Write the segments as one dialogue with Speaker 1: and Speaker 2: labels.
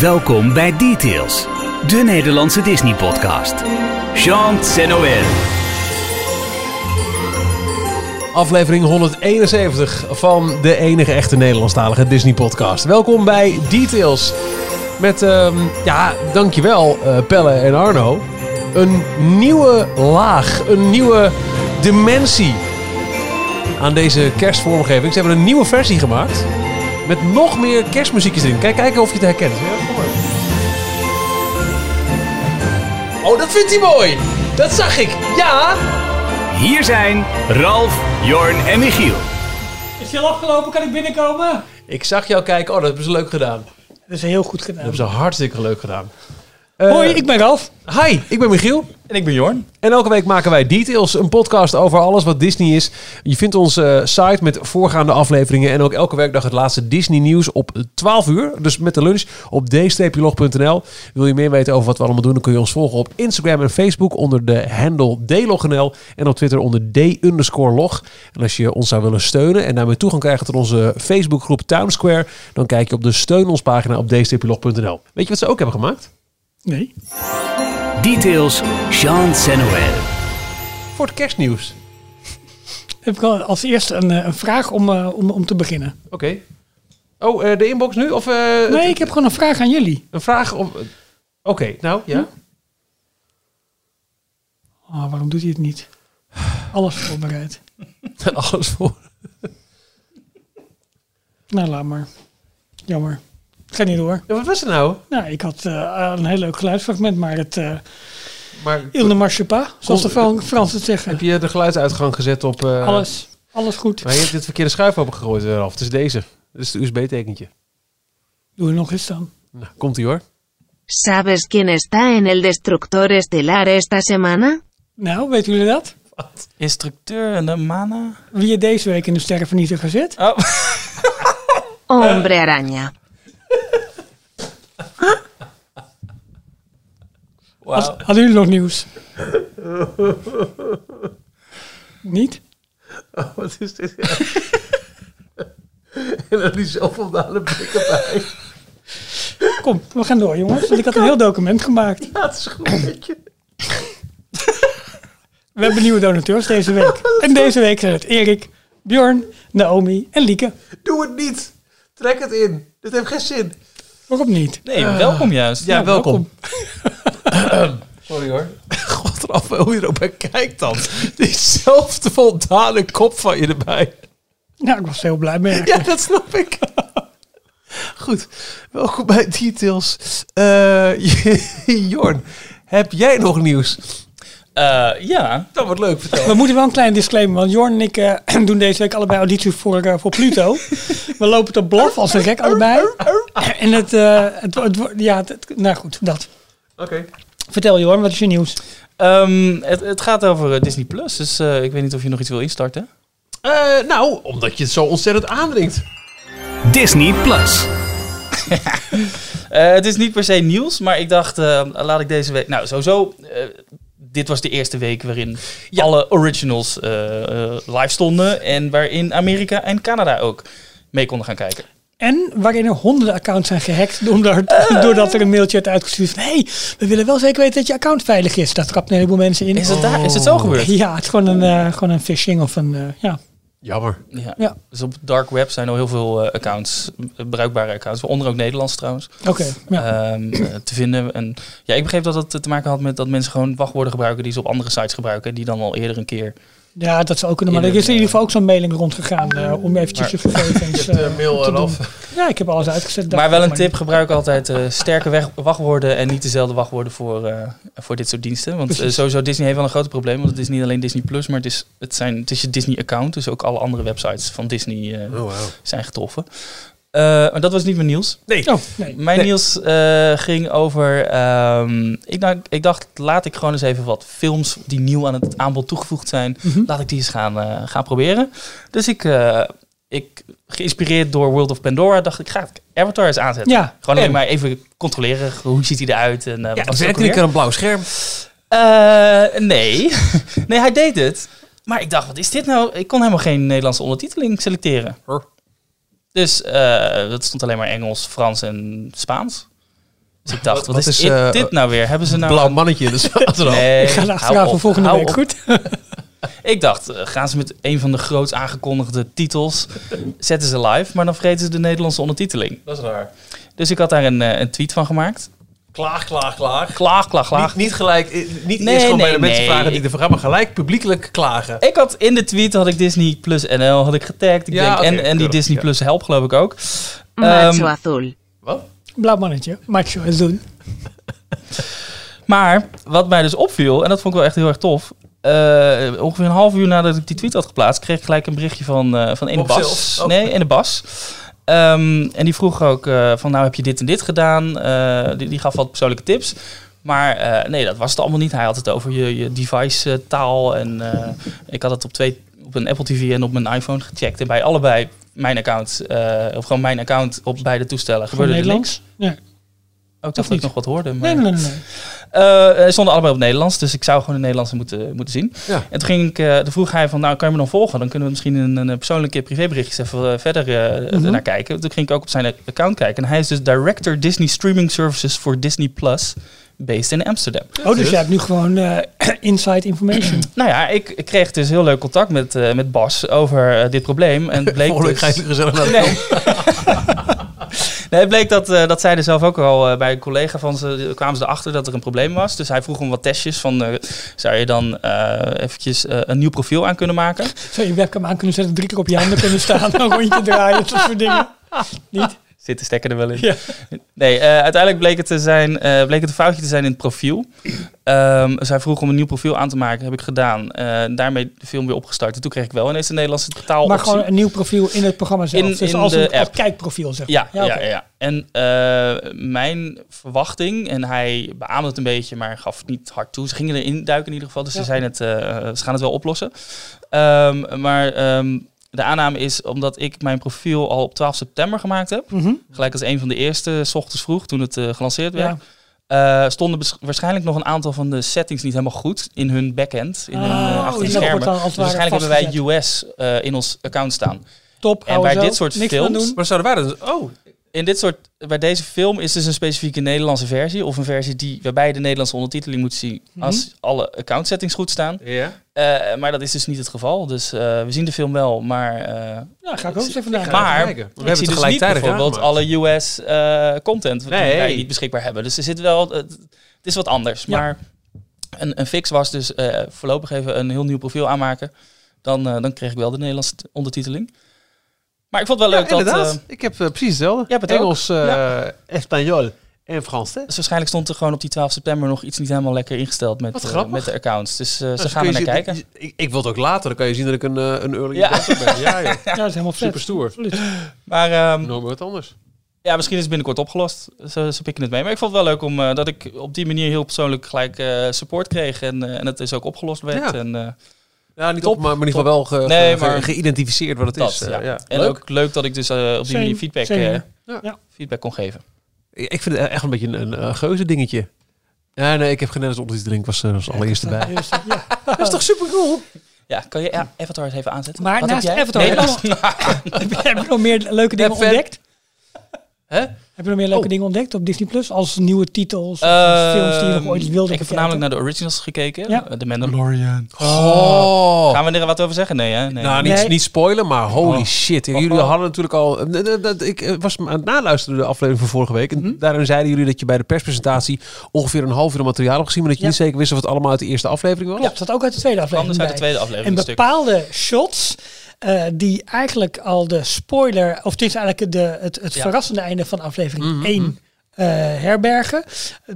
Speaker 1: Welkom bij Details, de Nederlandse Disney-podcast. Jean Noël.
Speaker 2: Aflevering 171 van de enige echte Nederlandstalige Disney podcast. Welkom bij Details. Met, ehm, ja, dankjewel eh, Pelle en Arno. Een nieuwe laag, een nieuwe dimensie aan deze kerstvormgeving. Ze hebben een nieuwe versie gemaakt. Met nog meer kerstmuziekjes erin. Kijk, kijken of je het herkent. Ja, kom maar. Oh, dat vindt hij mooi. Dat zag ik. Ja.
Speaker 1: Hier zijn Ralf, Jorn en Michiel.
Speaker 3: Is hij al afgelopen? Kan ik binnenkomen?
Speaker 2: Ik zag jou kijken. Oh, dat hebben ze leuk gedaan.
Speaker 3: Dat is heel goed
Speaker 2: Dat
Speaker 3: gedaan.
Speaker 2: hebben ze hartstikke leuk gedaan.
Speaker 3: Hoi, ik ben Ralf.
Speaker 2: Eh, Hi, ik ben Michiel.
Speaker 4: En ik ben Jorn.
Speaker 2: En elke week maken wij Details, een podcast over alles wat Disney is. Je vindt onze eh, site met voorgaande afleveringen en ook elke werkdag het laatste Disney nieuws op 12 uur. Dus met de lunch op d-log.nl. Wil je meer weten over wat we allemaal doen, dan kun je ons volgen op Instagram en Facebook onder de handle dlognl en op Twitter onder d-log. En als je ons zou willen steunen en daarmee toegang krijgen tot onze Facebookgroep Town Square, dan kijk je op de steun ons pagina op d-log.nl. Weet je wat ze ook hebben gemaakt?
Speaker 3: Nee.
Speaker 1: Details, Jean Noël.
Speaker 2: Voor het kerstnieuws.
Speaker 3: Heb ik al als eerste een, eh, een vraag om, eh, om, om te beginnen?
Speaker 2: Oké. Oh, eh, de inbox nu? Of eh,
Speaker 3: Nee, ik heb gewoon een vraag aan jullie.
Speaker 2: een vraag om. Oké, nou ja.
Speaker 3: Oh, waarom doet hij het niet? Alles voorbereid.
Speaker 2: Alles voor.
Speaker 3: Nou, laat maar. Jammer. Ga niet door.
Speaker 2: Ja, wat was het nou?
Speaker 3: Nou, ik had eh, een heel leuk geluidsfragment, maar het eh
Speaker 2: Maar
Speaker 3: Il ne marche pas, zoals de
Speaker 2: Kon-
Speaker 3: Fran- Fransen het zeggen.
Speaker 2: heb je de geluidsuitgang gezet op. eh,
Speaker 3: Alles, alles goed.
Speaker 2: Maar je hebt dit verkeerde schuif opengegooid, eh, Ralf. Het is deze. Dit is het USB-tekentje.
Speaker 3: Doe er nog eens dan.
Speaker 2: Nou, komt ie hoor.
Speaker 5: ¿Sabes quién está en el destructor estelar esta semana?
Speaker 3: Nou, weten jullie dat?
Speaker 4: Instructeur en de mana.
Speaker 3: Wie er deze week in de Sterrenvernietiger zit?
Speaker 2: Ah.
Speaker 4: Oh,
Speaker 5: Hombre araña.
Speaker 4: wauw.
Speaker 3: Hadden jullie nog nieuws? Niet?
Speaker 2: Wat is dit? en dan die zelfvoldane blik erbij.
Speaker 3: Kom, we gaan door, jongens. Want ik had een heel document gemaakt.
Speaker 2: Dat is goed.
Speaker 3: We hebben nieuwe donateurs deze week. En deze week zijn het Erik, Bjorn, Naomi en Lieke.
Speaker 2: Doe het niet. Trek het in. Dit heeft geen zin.
Speaker 3: Waarom niet?
Speaker 4: Nee, welkom juist.
Speaker 2: Ja,
Speaker 4: Ja,
Speaker 2: welkom. Sorry hoor. God, Raf, hoe je erop bij kijkt dan. Diezelfde voldane kop van je erbij.
Speaker 3: Nou, ik was er heel blij mee.
Speaker 2: Ja, dat snap ik. Goed, welkom bij Details. Eh, Jorn, heb jij nog nieuws?
Speaker 4: Eh, ja.
Speaker 2: Dat wordt leuk, vertel.
Speaker 3: We moeten wel een klein disclaimer, want Jorn en ik eh, doen deze week allebei auditie voor, eh, voor Pluto. We lopen te blaf als een gek allebei. En het, eh, het, het wordt- ja, het- het- nou goed, dat.
Speaker 2: Oké.
Speaker 3: Vertel Jorn, wat is je nieuws?
Speaker 4: Ehm, het, het gaat over eh, Disney Plus, dus eh, ik weet niet of je nog iets wil instarten.
Speaker 2: Eh, nou, omdat je het zo ontzettend aandringt.
Speaker 1: Disney Plus.
Speaker 4: Eh, het is niet per se nieuws, maar ik dacht, eh, laat ik deze week. Nou, sowieso. eh, dit was de eerste week waarin alle originals eh, eh, live stonden. En waarin Amerika en Canada ook mee konden gaan kijken.
Speaker 3: En waarin er honderden accounts zijn gehackt. Doordat, doordat er een mailtje werd uitgestuurd van... hey, we willen wel zeker weten dat je account veilig is. Daar trapt een heleboel mensen in.
Speaker 4: Is het, daar, is het zo gebeurd?
Speaker 3: Ja, het is gewoon een, eh, gewoon een phishing of een... eh, ja.
Speaker 2: Jammer.
Speaker 4: Ja.
Speaker 3: Ja.
Speaker 4: Dus op het dark web zijn al heel veel eh, accounts, eh, bruikbare accounts, waaronder ook Nederlands trouwens,
Speaker 3: Oké, ja.
Speaker 4: ehm, eh, te vinden. En ja, ik begreep dat dat eh, te maken had met dat mensen gewoon wachtwoorden gebruiken die ze op andere sites gebruiken, en die dan al eerder een keer.
Speaker 3: ja, dat zou ook kunnen. Maar er
Speaker 4: in eh,
Speaker 3: is in
Speaker 4: een,
Speaker 3: ieder geval ook zo'n mailing rondgegaan... eh, om eventjes je gegevens eh,
Speaker 2: mail
Speaker 3: te
Speaker 2: eraf.
Speaker 3: doen. Ja, ik heb alles uitgezet.
Speaker 4: maar
Speaker 3: dacht
Speaker 4: wel
Speaker 3: ik,
Speaker 4: een tip: gebruik altijd eh, sterke weg- wachtwoorden en niet dezelfde wachtwoorden voor, eh, voor dit soort diensten. Want eh,
Speaker 3: Precies.
Speaker 4: sowieso Disney heeft wel een groot probleem, want het is niet alleen Disney Plus, maar het is, het, zijn, het is je Disney-account, dus ook alle andere websites van Disney eh,
Speaker 2: Oh, wow.
Speaker 4: zijn getroffen. Eh, maar dat was niet mijn nieuws.
Speaker 2: Nee.
Speaker 3: Oh, nee.
Speaker 4: Mijn
Speaker 2: Nee.
Speaker 4: nieuws eh, ging over. ehm, ik, dacht, ik dacht, laat ik gewoon eens even wat films die nieuw aan het aanbod toegevoegd zijn.
Speaker 3: Mhm.
Speaker 4: Laat ik die eens gaan, eh, gaan proberen. Dus ik, eh, ik, geïnspireerd door World of Pandora, dacht ik, ga ik Avatar eens aanzetten.
Speaker 3: Ja,
Speaker 4: Gewoon
Speaker 2: en?
Speaker 4: alleen maar even controleren. Hoe ziet hij eruit? En, eh, wat
Speaker 2: Ja,
Speaker 4: was
Speaker 2: het
Speaker 4: het
Speaker 2: is
Speaker 4: ook alweer?
Speaker 2: een blauw scherm.
Speaker 4: Eh, nee. nee, hij deed het. Maar ik dacht, wat is dit nou? Ik kon helemaal geen Nederlandse ondertiteling selecteren.
Speaker 2: Hoor.
Speaker 4: Dus eh dat stond alleen maar Engels, Frans en Spaans. Dus ik dacht, wat,
Speaker 2: wat
Speaker 4: is,
Speaker 2: is,
Speaker 4: dit-
Speaker 2: eh,
Speaker 4: dit nou weer? Hebben ze nou...
Speaker 2: Blauw mannetje dus- in de zaterdag.
Speaker 4: Nee,
Speaker 3: Ik ga de
Speaker 4: hou
Speaker 3: achteraan
Speaker 4: op,
Speaker 3: voor volgende
Speaker 4: hou
Speaker 3: week.
Speaker 4: op.
Speaker 3: Goed.
Speaker 4: Ik dacht, eh, gaan ze met een van de grootst aangekondigde titels, zetten ze live, maar dan vergeten ze de Nederlandse ondertiteling.
Speaker 2: Dat is raar.
Speaker 4: Dus ik had daar een, eh, een tweet van gemaakt.
Speaker 2: Klaag, klaag, klaag.
Speaker 4: Klaag, klaag, klaag.
Speaker 2: Niet, niet gelijk, eh, niet
Speaker 4: Nee,
Speaker 2: eerst gewoon
Speaker 4: nee,
Speaker 2: bij de mensen
Speaker 4: nee.
Speaker 2: vragen die de vraag, maar gelijk publiekelijk klagen.
Speaker 4: Ik had in de tweet had ik Disney Plus NL had ik getagd. Ik
Speaker 2: Ja,
Speaker 4: denk,
Speaker 2: oké,
Speaker 4: en, en die
Speaker 2: keurig,
Speaker 4: Disney
Speaker 2: ja.
Speaker 4: Plus help geloof ik ook.
Speaker 5: Macho
Speaker 4: Ehm,
Speaker 5: azul.
Speaker 2: Wat?
Speaker 3: Blauw mannetje. Macho is doen.
Speaker 4: Maar wat mij dus opviel, en dat vond ik wel echt heel erg tof. eh, ongeveer een half uur nadat ik die tweet had geplaatst, kreeg ik gelijk een berichtje van, eh van Ene
Speaker 2: Bob
Speaker 4: Bas.
Speaker 2: zelf? Oh.
Speaker 4: Nee, Ene Bas. Ehm, en die vroeg ook eh, van, nou heb je dit en dit gedaan? Eh, die, die gaf wat persoonlijke tips. Maar eh, nee, dat was het allemaal niet. Hij had het over je, je device eh, taal. En eh, ik had het op twee, op een Apple TV en op mijn iPhone gecheckt. En bij allebei mijn account, eh, of gewoon mijn account op beide toestellen gebeurde er niks.
Speaker 3: Nederlands? Ja.
Speaker 4: Oh, ik
Speaker 3: Of
Speaker 4: dacht dat ik
Speaker 3: niet?
Speaker 4: nog wat hoorde. Maar...
Speaker 3: Nee, nee, nee, nee.
Speaker 4: Eh, eh, stonden allebei op Nederlands, dus ik zou gewoon een Nederlandse moeten, moeten zien.
Speaker 2: Ja.
Speaker 4: En toen ging ik, eh, toen vroeg hij van, nou kan je me dan volgen? Dan kunnen we misschien een, een persoonlijke privéberichtjes even eh, verder eh,
Speaker 3: Mhm.
Speaker 4: naar kijken. Toen ging ik ook op zijn account kijken. En hij is dus Director Disney Streaming Services voor Disney Plus, based in Amsterdam.
Speaker 3: Oh, dus jij hebt nu gewoon eh, inside information.
Speaker 4: Nou ja, ik, ik kreeg dus heel leuk contact met, eh, met Bas over eh, dit probleem. En het bleek
Speaker 2: Volgende week
Speaker 4: dus...
Speaker 2: ga je gezellig naar de
Speaker 4: Nee. nee, het bleek dat, eh, dat zij er zelf ook al eh, bij een collega van ze eh, kwamen ze erachter dat er een probleem was. Dus hij vroeg om wat testjes van eh, zou je dan eh, eventjes eh, een nieuw profiel aan kunnen maken?
Speaker 3: Zou je webcam aan kunnen zetten, drie keer op je handen kunnen staan, een rondje draaien, dat soort dingen. Niet?
Speaker 4: Zit de stekker er wel in?
Speaker 3: Ja.
Speaker 4: Nee, eh, uiteindelijk bleek het, te zijn, eh, bleek het een foutje te zijn in het profiel. Ehm, dus hij vroeg om een nieuw profiel aan te maken, heb ik gedaan. Eh, daarmee de film weer opgestart. En toen kreeg ik wel ineens de Nederlandse taal
Speaker 3: Maar gewoon een nieuw profiel in het programma zelf.
Speaker 4: In-
Speaker 3: dus
Speaker 4: in
Speaker 3: als
Speaker 4: de
Speaker 3: een als
Speaker 4: app.
Speaker 3: kijkprofiel, zeg
Speaker 4: Ja,
Speaker 3: maar.
Speaker 4: ja, ja,
Speaker 3: oké.
Speaker 4: En eh, mijn verwachting, en hij beaamde het een beetje, maar gaf het niet hard toe. Ze gingen erin duiken in ieder geval, dus
Speaker 3: Ja.
Speaker 4: ze, zijn het, eh, ze gaan het wel oplossen. Ehm, maar ehm, de aanname is, omdat ik mijn profiel al op 12 september gemaakt heb,
Speaker 3: Mhm.
Speaker 4: gelijk als een van de eerste, s ochtends vroeg, toen het eh, gelanceerd werd,
Speaker 3: Ja.
Speaker 4: eh, stonden bes- waarschijnlijk nog een aantal van de settings niet helemaal goed in hun backend, in hun eh,
Speaker 3: Ah,
Speaker 4: achter de
Speaker 3: dus dat wordt
Speaker 4: schermen.
Speaker 3: dan als
Speaker 4: Dus
Speaker 3: het ware
Speaker 4: waarschijnlijk hebben wij US eh, in ons account staan.
Speaker 3: Top,
Speaker 4: En bij
Speaker 3: ouwe zo,
Speaker 4: dit soort
Speaker 3: niks aan
Speaker 4: films-
Speaker 3: doen.
Speaker 2: Maar zouden wij dat... Oh,
Speaker 4: in dit soort, bij deze film is dus een specifieke Nederlandse versie. Of een versie die, waarbij je de Nederlandse ondertiteling moet zien.
Speaker 2: Mhm.
Speaker 4: Als alle account settings goed staan.
Speaker 2: ja.
Speaker 4: Eh, maar dat is dus niet het geval. Dus eh, we zien de film wel. Maar, eh
Speaker 3: Ja, ga ik ook eens even naar.
Speaker 2: even
Speaker 4: maar
Speaker 2: kijken. We
Speaker 4: ik
Speaker 2: hebben
Speaker 4: zie
Speaker 2: het
Speaker 4: dus niet
Speaker 2: gelijktijdig
Speaker 4: bijvoorbeeld alle US eh, content.
Speaker 2: Nee.
Speaker 4: Die wij niet beschikbaar hebben. Dus er zit wel, het, het is wat anders.
Speaker 3: Ja.
Speaker 4: Maar een, een fix was dus eh, voorlopig even een heel nieuw profiel aanmaken. Dan, eh, dan kreeg ik wel de Nederlandse ondertiteling. Maar ik vond het wel leuk dat...
Speaker 2: inderdaad.
Speaker 4: eh,
Speaker 2: ik heb eh, precies hetzelfde.
Speaker 4: Jij hebt het ook.
Speaker 2: Engels, eh Espanol en Frans. Hè?
Speaker 4: Dus waarschijnlijk stond er gewoon op die 12 september nog iets niet helemaal lekker ingesteld met,
Speaker 2: Wat
Speaker 4: eh,
Speaker 2: grappig.
Speaker 4: met de accounts. Dus eh, ze
Speaker 2: Nou,
Speaker 4: gaan
Speaker 2: kun
Speaker 4: er
Speaker 2: je
Speaker 4: naar
Speaker 2: zien-
Speaker 4: kijken.
Speaker 2: je- Ik, ik wil het ook later, dan kan je zien dat ik een, eh, een early
Speaker 4: Ja.
Speaker 2: adopter ben. Ja, joh.
Speaker 3: Ja, dat is helemaal vet.
Speaker 2: super stoer.
Speaker 3: Absoluut.
Speaker 4: Maar ehm,
Speaker 2: Noem maar wat anders.
Speaker 4: ja, misschien is het binnenkort opgelost. Ze, ze pikken het mee. Maar ik vond het wel leuk om, eh, dat ik op die manier heel persoonlijk gelijk eh, support kreeg. En, eh, en het dus ook opgelost werd.
Speaker 2: Ja.
Speaker 4: En, eh,
Speaker 2: Ja, niet
Speaker 4: Top.
Speaker 2: op, maar in ieder geval wel ge-
Speaker 4: Nee,
Speaker 2: ge-
Speaker 4: maar-
Speaker 2: geïdentificeerd wat het
Speaker 4: dat,
Speaker 2: is.
Speaker 4: ja.
Speaker 2: Eh, ja.
Speaker 4: en
Speaker 2: Leuk.
Speaker 4: ook leuk dat ik dus eh, op die
Speaker 3: Same,
Speaker 4: manier feedback,
Speaker 3: same
Speaker 4: eh,
Speaker 3: hier.
Speaker 4: feedback kon geven.
Speaker 2: Ik vind het echt een beetje een, een eh, geuze dingetje. Ja, nee, ik heb geen Nederlands ondertiteling. Ik was er als allereerste bij.
Speaker 3: Dus, ja.
Speaker 2: Dat is toch super cool?
Speaker 4: Ja, kan je ja,
Speaker 2: Hm.
Speaker 4: Avatar eens even aanzetten?
Speaker 3: Maar
Speaker 4: Wat
Speaker 3: naast
Speaker 4: heb jij?
Speaker 3: Avatar-
Speaker 4: Nederlands?
Speaker 3: heb, je, heb je nog meer leuke dingen
Speaker 2: Even-
Speaker 3: ontdekt?
Speaker 2: Hè?
Speaker 3: Heb je nog meer leuke
Speaker 2: Oh.
Speaker 3: dingen ontdekt op Disney Plus? Als nieuwe titels, of
Speaker 4: Ehm,
Speaker 3: films die je nog ooit wilde
Speaker 4: Ik heb
Speaker 3: bekijken?
Speaker 4: voornamelijk naar de originals gekeken.
Speaker 3: Ja.
Speaker 4: Eh, The Mandalorian.
Speaker 2: Oh.
Speaker 4: Gaan we er wat over zeggen? Nee, hè? Nee.
Speaker 2: Nou, niet,
Speaker 3: Nee.
Speaker 2: niet spoilen, maar holy
Speaker 4: Oh.
Speaker 2: shit. Jullie hadden natuurlijk al... eh, dat- dat- Ik eh, was aan het naluisteren de aflevering van vorige week. En daarin zeiden jullie dat je bij de perspresentatie ongeveer een half uur aan materiaal hebt gezien. Maar dat je
Speaker 3: Ja.
Speaker 2: niet zeker wist of het allemaal uit de eerste aflevering was.
Speaker 3: Ja, dat zat ook uit de tweede aflevering
Speaker 4: Anders uit de
Speaker 3: bij.
Speaker 4: tweede aflevering
Speaker 3: En
Speaker 4: een stuk.
Speaker 3: bepaalde shots eh, die eigenlijk al de spoiler, of het is eigenlijk de, het, het
Speaker 4: Ja. Mhm,
Speaker 3: verrassende einde van aflevering 1 eh, herbergen,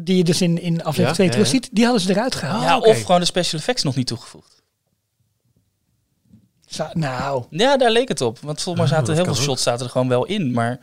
Speaker 3: die je dus in, in aflevering
Speaker 2: Ja,
Speaker 3: 2
Speaker 2: ja,
Speaker 3: terug
Speaker 2: ja.
Speaker 3: ziet, die hadden ze eruit gehaald.
Speaker 4: Ja,
Speaker 2: Ah, oké.
Speaker 4: of gewoon de special effects nog niet toegevoegd.
Speaker 3: Zo- nou,
Speaker 4: Ja, daar leek het op. Want volgens mij zaten
Speaker 2: dat
Speaker 4: heel
Speaker 2: kan
Speaker 4: veel
Speaker 2: ook.
Speaker 4: shots zaten er gewoon wel in, maar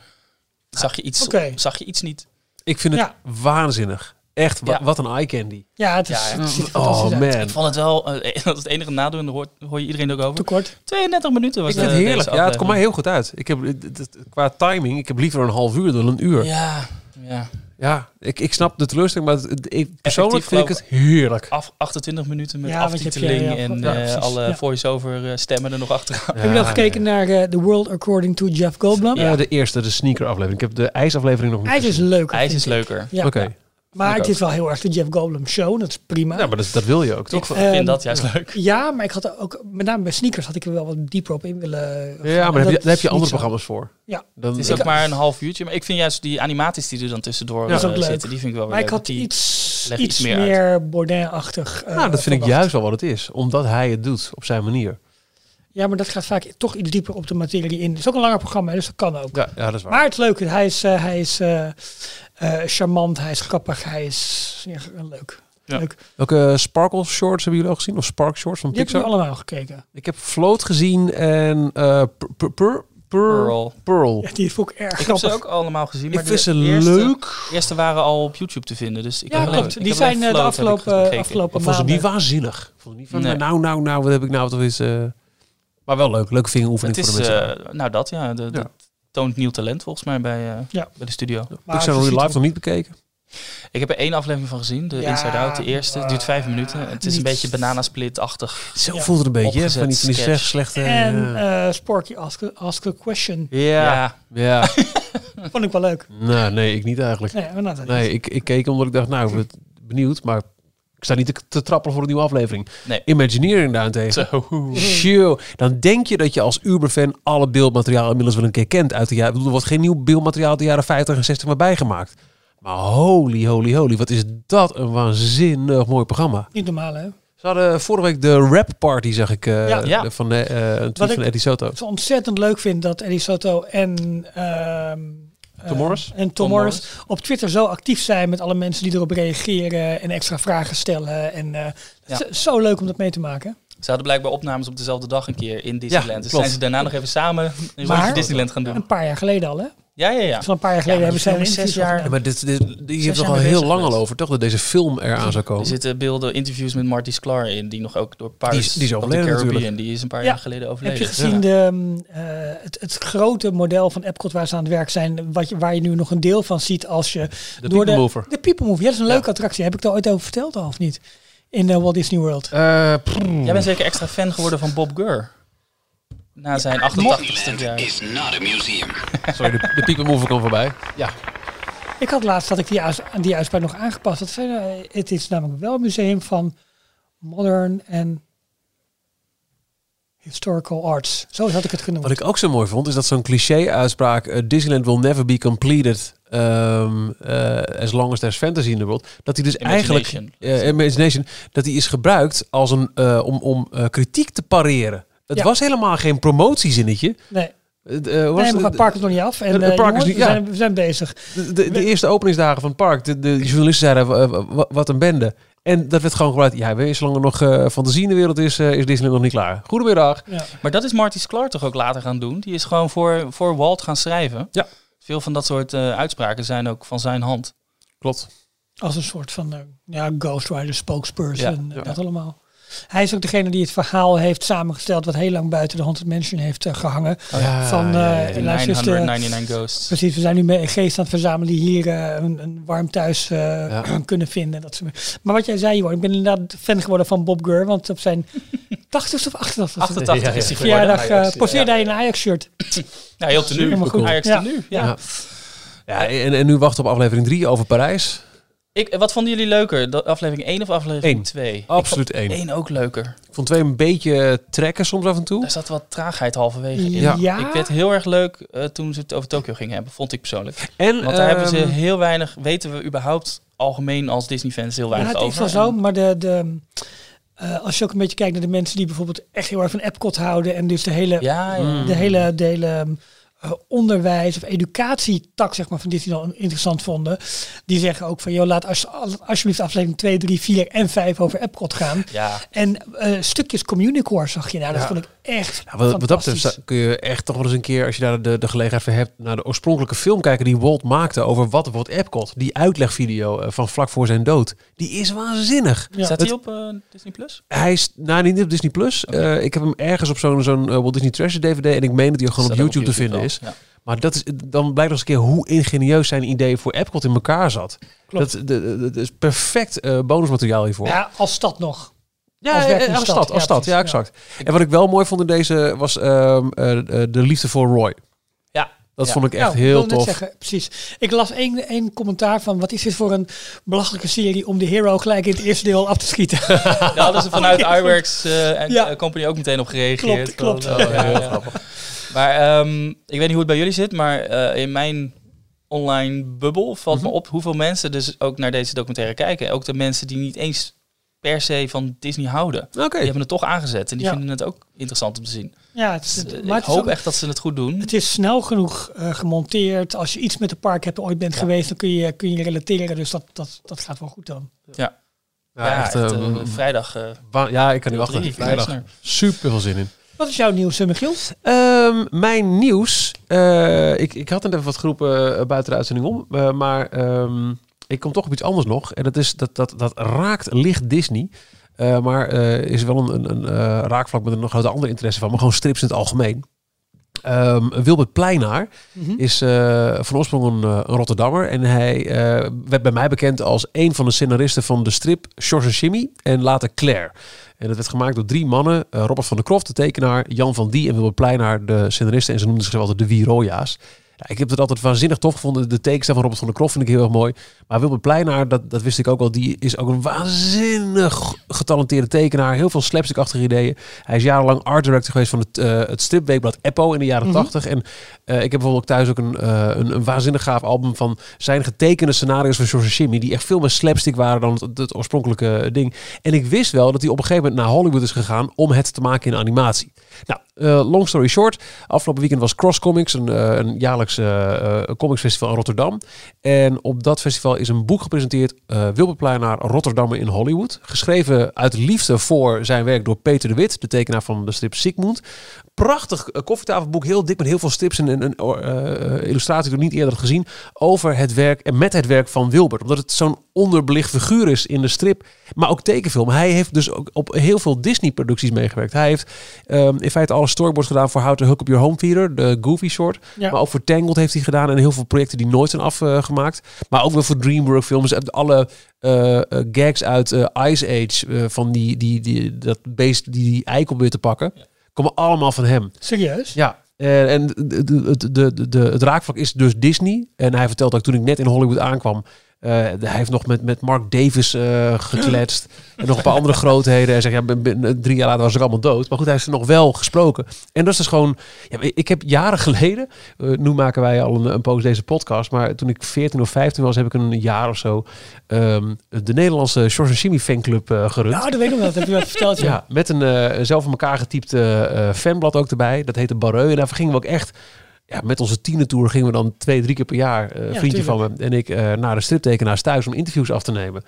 Speaker 4: zag je iets,
Speaker 3: Oké.
Speaker 4: zag je iets niet.
Speaker 2: Ik vind het
Speaker 3: Ja.
Speaker 2: waanzinnig. Echt, wa-
Speaker 4: Ja.
Speaker 2: wat een eye candy.
Speaker 3: ja, het is,
Speaker 4: Ja, ja.
Speaker 3: het ziet er fantastisch
Speaker 2: Oh
Speaker 3: uit.
Speaker 2: man.
Speaker 4: Ik vond het wel, eh, dat is het enige nadeel en daar hoort- hoor, je iedereen ook over.
Speaker 3: Tekort.
Speaker 4: 32 minuten was
Speaker 2: Ik vind
Speaker 4: eh,
Speaker 2: het
Speaker 4: deze
Speaker 2: heerlijk. Ja, het komt mij
Speaker 4: aflevering.
Speaker 2: heel goed uit. Ik heb, eh, d- d- qua timing, ik heb liever een half uur dan een uur. Ja,
Speaker 4: Ja, ja.
Speaker 2: Ja, ik, ik snap de teleurstelling, maar het- het- ik, persoonlijk vind ik
Speaker 4: geloof
Speaker 2: het heerlijk.
Speaker 4: Af, 28 minuten met
Speaker 3: Ja, want je hebt je-
Speaker 4: aftiteling
Speaker 3: ja,
Speaker 4: en
Speaker 3: ja,
Speaker 4: eh,
Speaker 3: precies,
Speaker 4: alle
Speaker 3: ja.
Speaker 4: voice-over eh, stemmen er nog achteraan.
Speaker 3: Heb je nog gekeken naar eh, The World According to Jeff Goldblum?
Speaker 2: Ja, Eh, de eerste, de sneaker aflevering. Ik heb de ijsaflevering nog niet
Speaker 3: Hij is
Speaker 2: gezien.
Speaker 3: leuker.
Speaker 4: IJs
Speaker 3: vind
Speaker 4: is dus
Speaker 3: ik.
Speaker 4: leuker.
Speaker 3: Ja.
Speaker 2: Oké,
Speaker 3: Maar
Speaker 2: Ik
Speaker 3: het
Speaker 2: ook.
Speaker 3: is wel heel erg de Jeff Goldblum show. Dat is prima.
Speaker 2: ja, maar dat, dat wil je ook,
Speaker 4: Ik
Speaker 2: toch?
Speaker 4: vind
Speaker 3: Ehm,
Speaker 4: dat juist leuk.
Speaker 3: Ja, maar ik had er ook, met name bij sneakers had ik er wel wat dieper op in willen. gaan.
Speaker 2: Ja, maar daar
Speaker 3: En
Speaker 2: heb je,
Speaker 3: dat
Speaker 2: daar heb je
Speaker 3: is
Speaker 2: andere
Speaker 3: niet zo.
Speaker 2: programma's voor.
Speaker 3: Ja.
Speaker 2: Dan,
Speaker 4: Het is
Speaker 2: ik-
Speaker 4: ook maar een half uurtje. Maar ik vind juist die animaties die er dan tussendoor
Speaker 2: Ja.
Speaker 4: eh,
Speaker 3: Dat is ook leuk.
Speaker 4: zitten, die vind ik wel weer
Speaker 3: Maar ik
Speaker 4: leuk.
Speaker 3: had
Speaker 4: Die-
Speaker 3: iets,
Speaker 4: leg
Speaker 3: iets,
Speaker 4: je iets meer
Speaker 3: meer,
Speaker 4: uit.
Speaker 3: Baudet-achtig. eh,
Speaker 2: nou, dat vind ik
Speaker 3: verwacht.
Speaker 2: juist wel wat het is. Omdat hij het doet, op zijn manier.
Speaker 3: Ja, maar dat gaat vaak toch iets dieper op de materie in. Het is ook een langer programma, dus dat kan ook.
Speaker 2: Ja, ja dat is waar.
Speaker 3: Maar het is leuk. Hij is, eh, hij is eh, eh, charmant, hij is grappig, hij is ja, leuk.
Speaker 4: Ja.
Speaker 3: leuk.
Speaker 2: Welke eh, Sparkle Shorts hebben jullie al gezien? Of Spark Shorts van
Speaker 3: Die heb ik
Speaker 2: Pixar?
Speaker 3: allemaal gekeken.
Speaker 2: Ik heb Float gezien en eh, Pur- Pur- Pur- Pearl.
Speaker 4: Pearl.
Speaker 2: Pearl.
Speaker 3: Ja, die vond ik erg
Speaker 4: Ik heb ze
Speaker 3: grappig.
Speaker 4: ook allemaal gezien. Maar
Speaker 2: Ik vind
Speaker 4: de
Speaker 2: ze
Speaker 4: eerste-
Speaker 2: leuk.
Speaker 4: De eerste waren al op YouTube te vinden. Dus ik
Speaker 3: Ja,
Speaker 4: heb alleen-
Speaker 3: klopt.
Speaker 4: ik
Speaker 3: Die
Speaker 4: heb alleen
Speaker 3: zijn eh, de
Speaker 4: Float heb ik
Speaker 3: afgelopen,
Speaker 4: gekeken.
Speaker 2: Ik
Speaker 3: afgelopen
Speaker 2: vond ze
Speaker 3: maanden.
Speaker 2: niet waanzinnig. Ik vond ze niet van,
Speaker 4: Nee.
Speaker 2: nou, nou, nou, wat heb ik nou toch eens... eh, Maar wel leuk. Leuke vingeroefening
Speaker 4: Het
Speaker 2: voor de
Speaker 4: is,
Speaker 2: mensen.
Speaker 4: eh, nou dat ja, de, dat toont nieuw talent volgens mij bij, eh,
Speaker 3: Ja.
Speaker 4: bij de studio.
Speaker 3: maar
Speaker 2: Pixar
Speaker 3: ze
Speaker 2: Real
Speaker 3: ziet
Speaker 2: Life
Speaker 3: er-
Speaker 2: nog niet bekeken.
Speaker 4: Ik heb er één aflevering van gezien, de
Speaker 3: Ja,
Speaker 4: Inside Out, de eerste. Het duurt vijf minuten. Het is een
Speaker 3: niet-
Speaker 4: beetje bananasplit-achtig.
Speaker 2: Zo
Speaker 3: Ja.
Speaker 2: voelt het een beetje. hè,
Speaker 4: Opgezet
Speaker 2: Van die, van die
Speaker 4: sketch.
Speaker 2: slecht- slechte...
Speaker 3: En
Speaker 2: eh,
Speaker 3: eh Sporky ask, a- ask a Question.
Speaker 2: ja.
Speaker 4: Ja.
Speaker 2: Ja.
Speaker 3: Vond ik wel leuk.
Speaker 2: nou, nee, ik niet eigenlijk.
Speaker 3: Nee, maar nou, dat
Speaker 2: Nee, ik, ik keek omdat ik dacht, nou, wat benieuwd, maar ik sta niet te, te trappelen voor een nieuwe aflevering.
Speaker 4: Nee.
Speaker 2: Imagineering daarentegen.
Speaker 4: Zo.
Speaker 2: Tjoe. Dan denk je dat je als Uber-fan alle beeldmateriaal inmiddels wel een keer kent uit de jaren. Ik bedoel, er wordt geen nieuw beeldmateriaal uit de jaren 50 en 60 meer bijgemaakt. Maar holy, holy, holy, wat is dat een waanzinnig mooi programma.
Speaker 3: Niet normaal, hè? Het
Speaker 2: Ze hadden eh, vorige week de rap party, zag ik, eh,
Speaker 3: Ja.
Speaker 4: Ja.
Speaker 2: de- van eh, eh, een tweet
Speaker 3: ik-
Speaker 2: van Eddie Soto.
Speaker 3: is ontzettend leuk vind dat Eddie Soto en... ehm, eh,
Speaker 2: Tom Morris?
Speaker 3: En Tom,
Speaker 4: Tom
Speaker 3: Morris, op Twitter zo actief zijn met alle mensen die erop reageren en extra vragen stellen. En eh,
Speaker 4: Ja.
Speaker 3: zo, zo leuk om dat mee te maken.
Speaker 4: Ze hadden blijkbaar opnames op dezelfde dag een keer in Disneyland. dus
Speaker 2: klopt.
Speaker 4: zijn ze daarna nog even samen een
Speaker 3: Maar-
Speaker 4: rondje Disneyland gaan doen.
Speaker 3: Een paar jaar geleden al, hè?
Speaker 4: Ja, ja, ja.
Speaker 3: Van een paar jaar geleden
Speaker 4: Ja,
Speaker 3: hebben
Speaker 4: die
Speaker 3: ze
Speaker 4: film
Speaker 3: een
Speaker 4: is zes
Speaker 3: interview
Speaker 4: jaar-
Speaker 2: Ja,
Speaker 3: gedaan.
Speaker 2: maar dit, dit, je hebt
Speaker 4: zijn
Speaker 2: toch al
Speaker 4: we
Speaker 2: heel
Speaker 4: bezig
Speaker 2: lang al
Speaker 4: geweest.
Speaker 2: over, toch? Dat deze film eraan zou
Speaker 3: Oh.
Speaker 2: komen.
Speaker 4: Er zitten beelden, interviews met Marty Sklar in, die nog ook door Paris
Speaker 2: Die is- die is
Speaker 4: of the
Speaker 2: overleden
Speaker 4: Caribbean,
Speaker 2: natuurlijk.
Speaker 4: Die is een paar
Speaker 3: Ja.
Speaker 4: jaar geleden
Speaker 3: Heb
Speaker 4: overleden.
Speaker 3: je gezien de, ehm, eh, het, het grote model van Epcot waar ze aan het werk zijn, wat je, waar je nu nog een deel van ziet als je
Speaker 2: De
Speaker 3: door
Speaker 2: People
Speaker 3: de,
Speaker 2: Mover.
Speaker 3: De People Mover, ja, dat is een leuke attractie. Heb ik daar ooit over verteld al of niet? In de Walt Disney World.
Speaker 2: Eh, pff,
Speaker 4: Jij bent zeker extra fan geworden van Bob Gurr. Na zijn 88ste jaar.
Speaker 6: is not a museum.
Speaker 2: sorry, de, de people mover kwam voorbij. Ja,
Speaker 3: Ik had laatst had ik die, uits- die uitspraak nog aangepast. Dat zei, eh, het is namelijk wel een museum van modern en historical arts. Zo had ik het genoemd.
Speaker 2: Wat ik ook zo mooi vond, is dat zo'n cliché-uitspraak... eh, Disneyland will never be completed ehm, eh, as long as there's fantasy in the world. Dat die dus eigenlijk...
Speaker 4: Imagination.
Speaker 2: eh, imagination. Dat die is gebruikt als een, eh, om, om eh, kritiek te pareren. Het
Speaker 3: Ja.
Speaker 2: was helemaal geen promotiezinnetje.
Speaker 3: nee,
Speaker 2: Het, eh, was
Speaker 3: nee, maar het
Speaker 2: de-
Speaker 3: park is nog niet af. En,
Speaker 2: Het
Speaker 3: eh,
Speaker 2: park is
Speaker 3: jongens,
Speaker 2: niet-
Speaker 3: we,
Speaker 2: ja.
Speaker 3: zijn, we zijn bezig.
Speaker 2: de, de, de eerste openingsdagen van het park. De, de journalisten zeiden, eh, wa- wa- wat een bende. En dat werd gewoon gebruikt. Ja, weet je, zolang er nog eh, fantasie in de wereld is, eh, is Disneyland nog niet klaar. Goedemiddag.
Speaker 3: Ja.
Speaker 4: Maar dat is Marty Sklar toch ook later gaan doen. Die is gewoon voor, voor Walt gaan schrijven.
Speaker 2: Ja.
Speaker 4: Veel van dat soort eh, uitspraken zijn ook van zijn hand. Eh,
Speaker 2: Klopt.
Speaker 3: Als een soort van eh, ja, ghostwriter, spokesperson,
Speaker 4: Ja,
Speaker 3: eh, dat allemaal. Hij is ook degene die het verhaal heeft samengesteld... wat heel lang buiten de Haunted Mansion heeft eh, gehangen.
Speaker 2: ja,
Speaker 3: van, eh,
Speaker 2: ja, ja, ja.
Speaker 4: Die
Speaker 3: luister eens, de-
Speaker 2: eh,
Speaker 4: 999 Ghosts.
Speaker 3: Precies, we zijn nu met geest aan het verzamelen die hier eh, een, een warm thuis eh,
Speaker 2: Ja.
Speaker 3: kunnen vinden. Dat soort- maar wat jij zei, Johan, ik ben inderdaad fan geworden van Bob Gurr, want op zijn 80ste of 88ste
Speaker 4: 88
Speaker 2: Ja, ja,
Speaker 4: is die geworden.
Speaker 3: verjaardag eh
Speaker 4: Ajax,
Speaker 3: poseerde hij in een Ajax-shirt.
Speaker 4: Ja, heel tenue.
Speaker 3: Helemaal goed.
Speaker 4: Ajax
Speaker 3: Ja.
Speaker 4: tenue.
Speaker 3: Ja.
Speaker 2: Ja. Ja, en, en nu wachten we op aflevering 3 over Parijs.
Speaker 4: Ik, eh, wat vonden jullie leuker? Dat- aflevering 1 of
Speaker 2: Eén.
Speaker 4: aflevering 2?
Speaker 2: Absoluut één.
Speaker 4: 1 ook leuker.
Speaker 2: Ik vond twee een beetje trekken soms af en toe.
Speaker 4: Daar zat wat traagheid halverwege in.
Speaker 3: Ja.
Speaker 4: Ik werd heel erg leuk eh, toen ze het over Tokio gingen hebben, vond ik persoonlijk.
Speaker 2: En
Speaker 4: Want daar hebben ze
Speaker 2: ehm,
Speaker 4: heel weinig, weten we überhaupt algemeen als Disney-fans heel
Speaker 3: Ja,
Speaker 4: weinig
Speaker 3: het is
Speaker 4: over.
Speaker 3: wel zo,
Speaker 4: En-
Speaker 3: maar de, de, eh, als je ook een beetje kijkt naar de mensen die bijvoorbeeld echt heel erg van Epcot houden en dus de hele,
Speaker 4: Ja, ja.
Speaker 2: Mm.
Speaker 3: de hele, de hele eh, onderwijs- of educatietak zeg maar, van Disneyland interessant vonden, die zeggen ook van, joh, laat als, alsjeblieft aflevering 2, 3, 4 en 5 over Epcot gaan.
Speaker 4: ja.
Speaker 3: En eh, stukjes Communicore zag je. Nou, dat
Speaker 2: Ja.
Speaker 3: vond ik echt
Speaker 2: ja, wat, wat dat
Speaker 3: fantastisch.
Speaker 2: betreft sta- kun je echt toch wel eens een keer, als je daar de, de gelegenheid voor hebt, naar de oorspronkelijke film kijken die Walt maakte over wat wordt Epcot. Die uitlegvideo eh, van vlak voor zijn dood. Die is waanzinnig.
Speaker 3: Ja.
Speaker 4: Staat
Speaker 2: Het-
Speaker 4: die op eh, Disney Plus?
Speaker 2: Hij is, nou niet op Disney Plus. Eh, ik heb hem ergens op zo'n zo'n eh, Walt Disney Treasure DVD en ik meen dat hij ook gewoon op
Speaker 4: Staat ook
Speaker 2: YouTube,
Speaker 4: op
Speaker 2: te vinden
Speaker 4: YouTube
Speaker 2: is. Maar dat is, dan blijkt nog eens een keer hoe ingenieus zijn idee voor Epcot in elkaar zat.
Speaker 3: Klopt.
Speaker 2: Dat, de- de- dat is perfect eh, bonusmateriaal hiervoor.
Speaker 3: Ja, als stad nog.
Speaker 2: Ja,
Speaker 3: Als
Speaker 2: ja,
Speaker 3: werkende
Speaker 2: ja, als
Speaker 3: stad.
Speaker 2: stad. Als
Speaker 3: Ja,
Speaker 2: stad,
Speaker 3: precies.
Speaker 2: ja, exact. En wat ik wel mooi vond in deze was ehm, eh, eh, de liefde voor Roy.
Speaker 4: Ja.
Speaker 2: Dat
Speaker 4: Ja.
Speaker 2: vond ik echt
Speaker 3: Nou, ik
Speaker 2: heel
Speaker 3: wil net
Speaker 2: tof.
Speaker 3: Zeggen, precies. Ik las één, één commentaar van, wat is dit voor een belachelijke serie om de hero gelijk in het eerste deel af te schieten.
Speaker 4: Daar hadden ze vanuit Iwerks eh, en
Speaker 3: Ja.
Speaker 4: eh, Company ook meteen op gereageerd.
Speaker 3: Klopt,
Speaker 4: Van,
Speaker 3: klopt.
Speaker 4: oh, ja, ja. Maar ehm, ik weet niet hoe het bij jullie zit, maar eh, in mijn online bubbel valt
Speaker 3: Mhm.
Speaker 4: me op hoeveel mensen dus ook naar deze documentaire kijken. Ook de mensen die niet eens per se van Disney houden.
Speaker 2: Oké.
Speaker 4: Die hebben het toch aangezet en die
Speaker 3: Ja.
Speaker 4: vinden het ook interessant om te zien.
Speaker 3: ja, het, is-
Speaker 4: Dus, eh,
Speaker 3: maar
Speaker 4: ik
Speaker 3: het is
Speaker 4: hoop
Speaker 3: ook-
Speaker 4: echt dat ze het goed doen.
Speaker 3: Het is snel genoeg eh, gemonteerd. Als je iets met de park hebt ooit bent geweest, dan kun je, kun je relateren. Dus dat, dat, dat gaat wel goed dan.
Speaker 4: Ja, echt, eh, vrijdag. eh,
Speaker 2: wa- ja, ik kan niet
Speaker 4: deel
Speaker 2: wachten.
Speaker 4: drie,
Speaker 2: Vrijdag.
Speaker 4: Eisner.
Speaker 2: Super veel zin in.
Speaker 3: Wat is jouw nieuws, eh, Michiel?
Speaker 2: Ehm, mijn nieuws. eh, ik, ik had net even wat groepen eh, buiten de uitzending om. eh, maar ehm, ik kom toch op iets anders nog. En dat, is, dat, dat, dat raakt licht Disney. Eh, maar eh, is wel een, een, een eh, raakvlak met een nog grote andere interesse van. Maar gewoon strips in het algemeen. Ehm, Wilbert Pleinaar is eh, van oorsprong een, eh, een Rotterdammer. En hij eh, werd bij mij bekend als een van de scenaristen van de strip George en Jimmy en later Claire. En dat werd gemaakt door drie mannen. eh, Robert van der Kroft, de tekenaar, Jan van Die en Wilbert Pleinaar, de scenaristen. En ze noemden zichzelf altijd de Wiroja's. Ja, ik heb het altijd waanzinnig tof gevonden. De tekenstijl van Robert van der Kroft vind ik heel erg mooi. Maar Wilbert Pleinaar, dat, dat wist ik ook wel, die is ook een waanzinnig getalenteerde tekenaar. Heel veel slapstick-achtige ideeën. Hij is jarenlang art director geweest van het, eh, het stripweekblad Eppo in de jaren
Speaker 3: Mhm.
Speaker 2: 80. En eh, ik heb bijvoorbeeld ook thuis ook een, eh, een, een waanzinnig gaaf album van zijn getekende scenario's van George Jimmy. Die echt veel meer slapstick waren dan het, het oorspronkelijke ding. En ik wist wel dat hij op een gegeven moment naar Hollywood is gegaan om het te maken in animatie. Nou, eh, long story short. Afgelopen weekend was Cross Comics, een, eh, een jaarlijks eh, eh, comicsfestival in Rotterdam. En op dat festival is een boek gepresenteerd, eh Wilbert Pleinaar, Rotterdammer in Hollywood. Geschreven uit liefde voor zijn werk door Peter de Wit, de tekenaar van de strip Sigmund. Prachtig eh, koffietafelboek, heel dik met heel veel strips en, en, en oh, eh, eh, illustraties die ik nog niet eerder had gezien. Over het werk en met het werk van Wilbert. Omdat het zo'n onderbelicht figuur is in de strip, maar ook tekenfilm. Hij heeft dus ook op heel veel Disney-producties meegewerkt. Hij heeft ehm, in feite alle storyboards gedaan voor How to Hook Up Your Home Theater, de Goofy short.
Speaker 3: Ja.
Speaker 2: Maar ook voor Tangled heeft hij gedaan en heel veel projecten die nooit zijn afgemaakt. Maar ook weer voor DreamWorks films. En Alle eh, eh, gags uit eh, Ice Age eh, van die, die, die, dat beest die die eik op weer te pakken. Komen allemaal van hem.
Speaker 3: Serieus?
Speaker 2: Ja. En, en de, de, de, de, de- het raakvlak is dus Disney. En hij vertelt ook toen ik net in Hollywood aankwam. eh, hij heeft nog met, met Mark Davis eh, gekletst. en nog een paar andere grootheden. Hij zegt, ja, ben- ben- drie jaar later was ik allemaal dood. Maar goed, hij heeft er nog wel gesproken. En dat is dus gewoon... Ja, ik heb jaren geleden... eh, nu maken wij al een, een poos deze podcast. Maar toen ik 14 of 15 was, heb ik een jaar of zo... ehm, de Nederlandse George Simi fanclub eh gerund.
Speaker 3: Nou, dat weet ik nog wel. Dat heb je wel verteld. Ja.
Speaker 2: Ja, met een eh, zelf in elkaar getypt eh, eh, fanblad ook erbij. Dat heette Barreu. En daar gingen we ook echt... Ja, met onze tienentour gingen we dan twee, drie keer per jaar, eh,
Speaker 3: Ja,
Speaker 2: vriendje van me en ik, eh, naar de striptekenaars thuis om interviews af te nemen.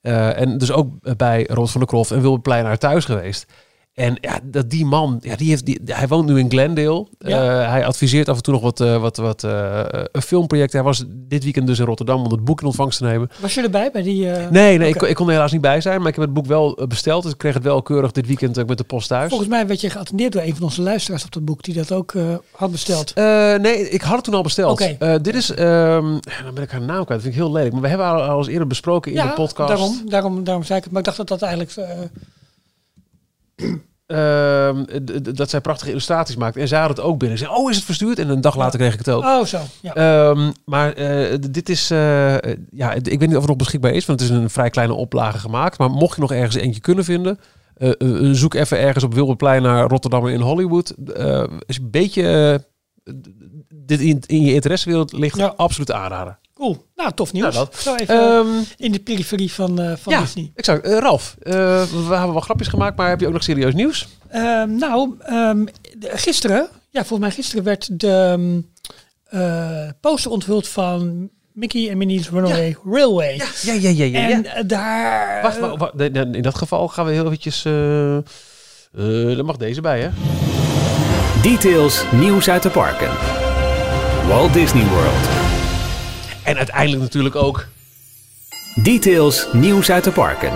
Speaker 2: Eh, en dus ook bij Rod van der Kroft en Wilbert Pleinaar thuis geweest. En ja, dat die man, ja, die heeft, die, hij woont nu in Glendale.
Speaker 3: Ja.
Speaker 2: Eh, hij adviseert af en toe nog wat, eh, wat, wat eh, eh, filmprojecten. Hij was dit weekend dus in Rotterdam om het boek in ontvangst te nemen.
Speaker 3: Was je erbij bij die... eh,
Speaker 2: Nee, nee ik,
Speaker 3: Oké.
Speaker 2: kon- ik kon er helaas niet bij zijn, maar ik heb het boek wel eh, besteld. Dus ik kreeg het wel keurig dit weekend eh, ook met de post thuis.
Speaker 3: Volgens mij werd je geattendeerd door een van onze luisteraars op dat boek die dat ook eh, had besteld.
Speaker 2: Eh, nee, ik had het toen al besteld.
Speaker 3: Oké.
Speaker 2: Eh, dit is, ehm, dan ben ik haar naam kwijt. Dat vind ik heel lelijk. Maar we hebben haar al eens eerder besproken in de podcast.
Speaker 3: Daarom, daarom, daarom zei ik het. Maar ik dacht dat dat eigenlijk... eh,
Speaker 2: Ehm, d- d- dat zij prachtige illustraties maakt. En zij had het ook binnen. Ze zei, oh, is het verstuurd? En een dag later kreeg ik het ook.
Speaker 3: oh, zo. Ja.
Speaker 2: Ehm, maar eh, d- dit is, eh, eh, ja, d- ik weet niet of het nog beschikbaar is, want het is een vrij kleine oplage gemaakt. Maar mocht je nog ergens eentje kunnen vinden, eh, eh, zoek even ergens op Wilberplein naar Rotterdam in Hollywood. Eh, als je een beetje eh, d- dit in, in je interessewereld ligt,
Speaker 3: Ja.
Speaker 2: absoluut aanraden.
Speaker 3: Cool. Nou, tof nieuws.
Speaker 2: Nou, dat-
Speaker 3: Zo even
Speaker 2: Ehm
Speaker 3: in de periferie van, eh, van
Speaker 2: ja,
Speaker 3: Disney.
Speaker 2: exact. Eh, Ralf, eh, we hebben wel grapjes gemaakt, maar heb je ook nog serieus nieuws?
Speaker 3: Ehm, nou, ehm, de- gisteren, ja, volgens mij gisteren werd de ehm, eh, poster onthuld van Mickey en Minnie's Runaway Railway.
Speaker 2: Ja, ja, ja, ja.
Speaker 3: En eh, daar...
Speaker 2: Wacht, wa- wa- nee, nee, in dat geval gaan we heel eventjes... eh eh er mag deze bij, hè?
Speaker 1: Details nieuws uit de parken. Walt Disney World.
Speaker 2: En uiteindelijk natuurlijk ook...
Speaker 1: Details nieuws uit de parken.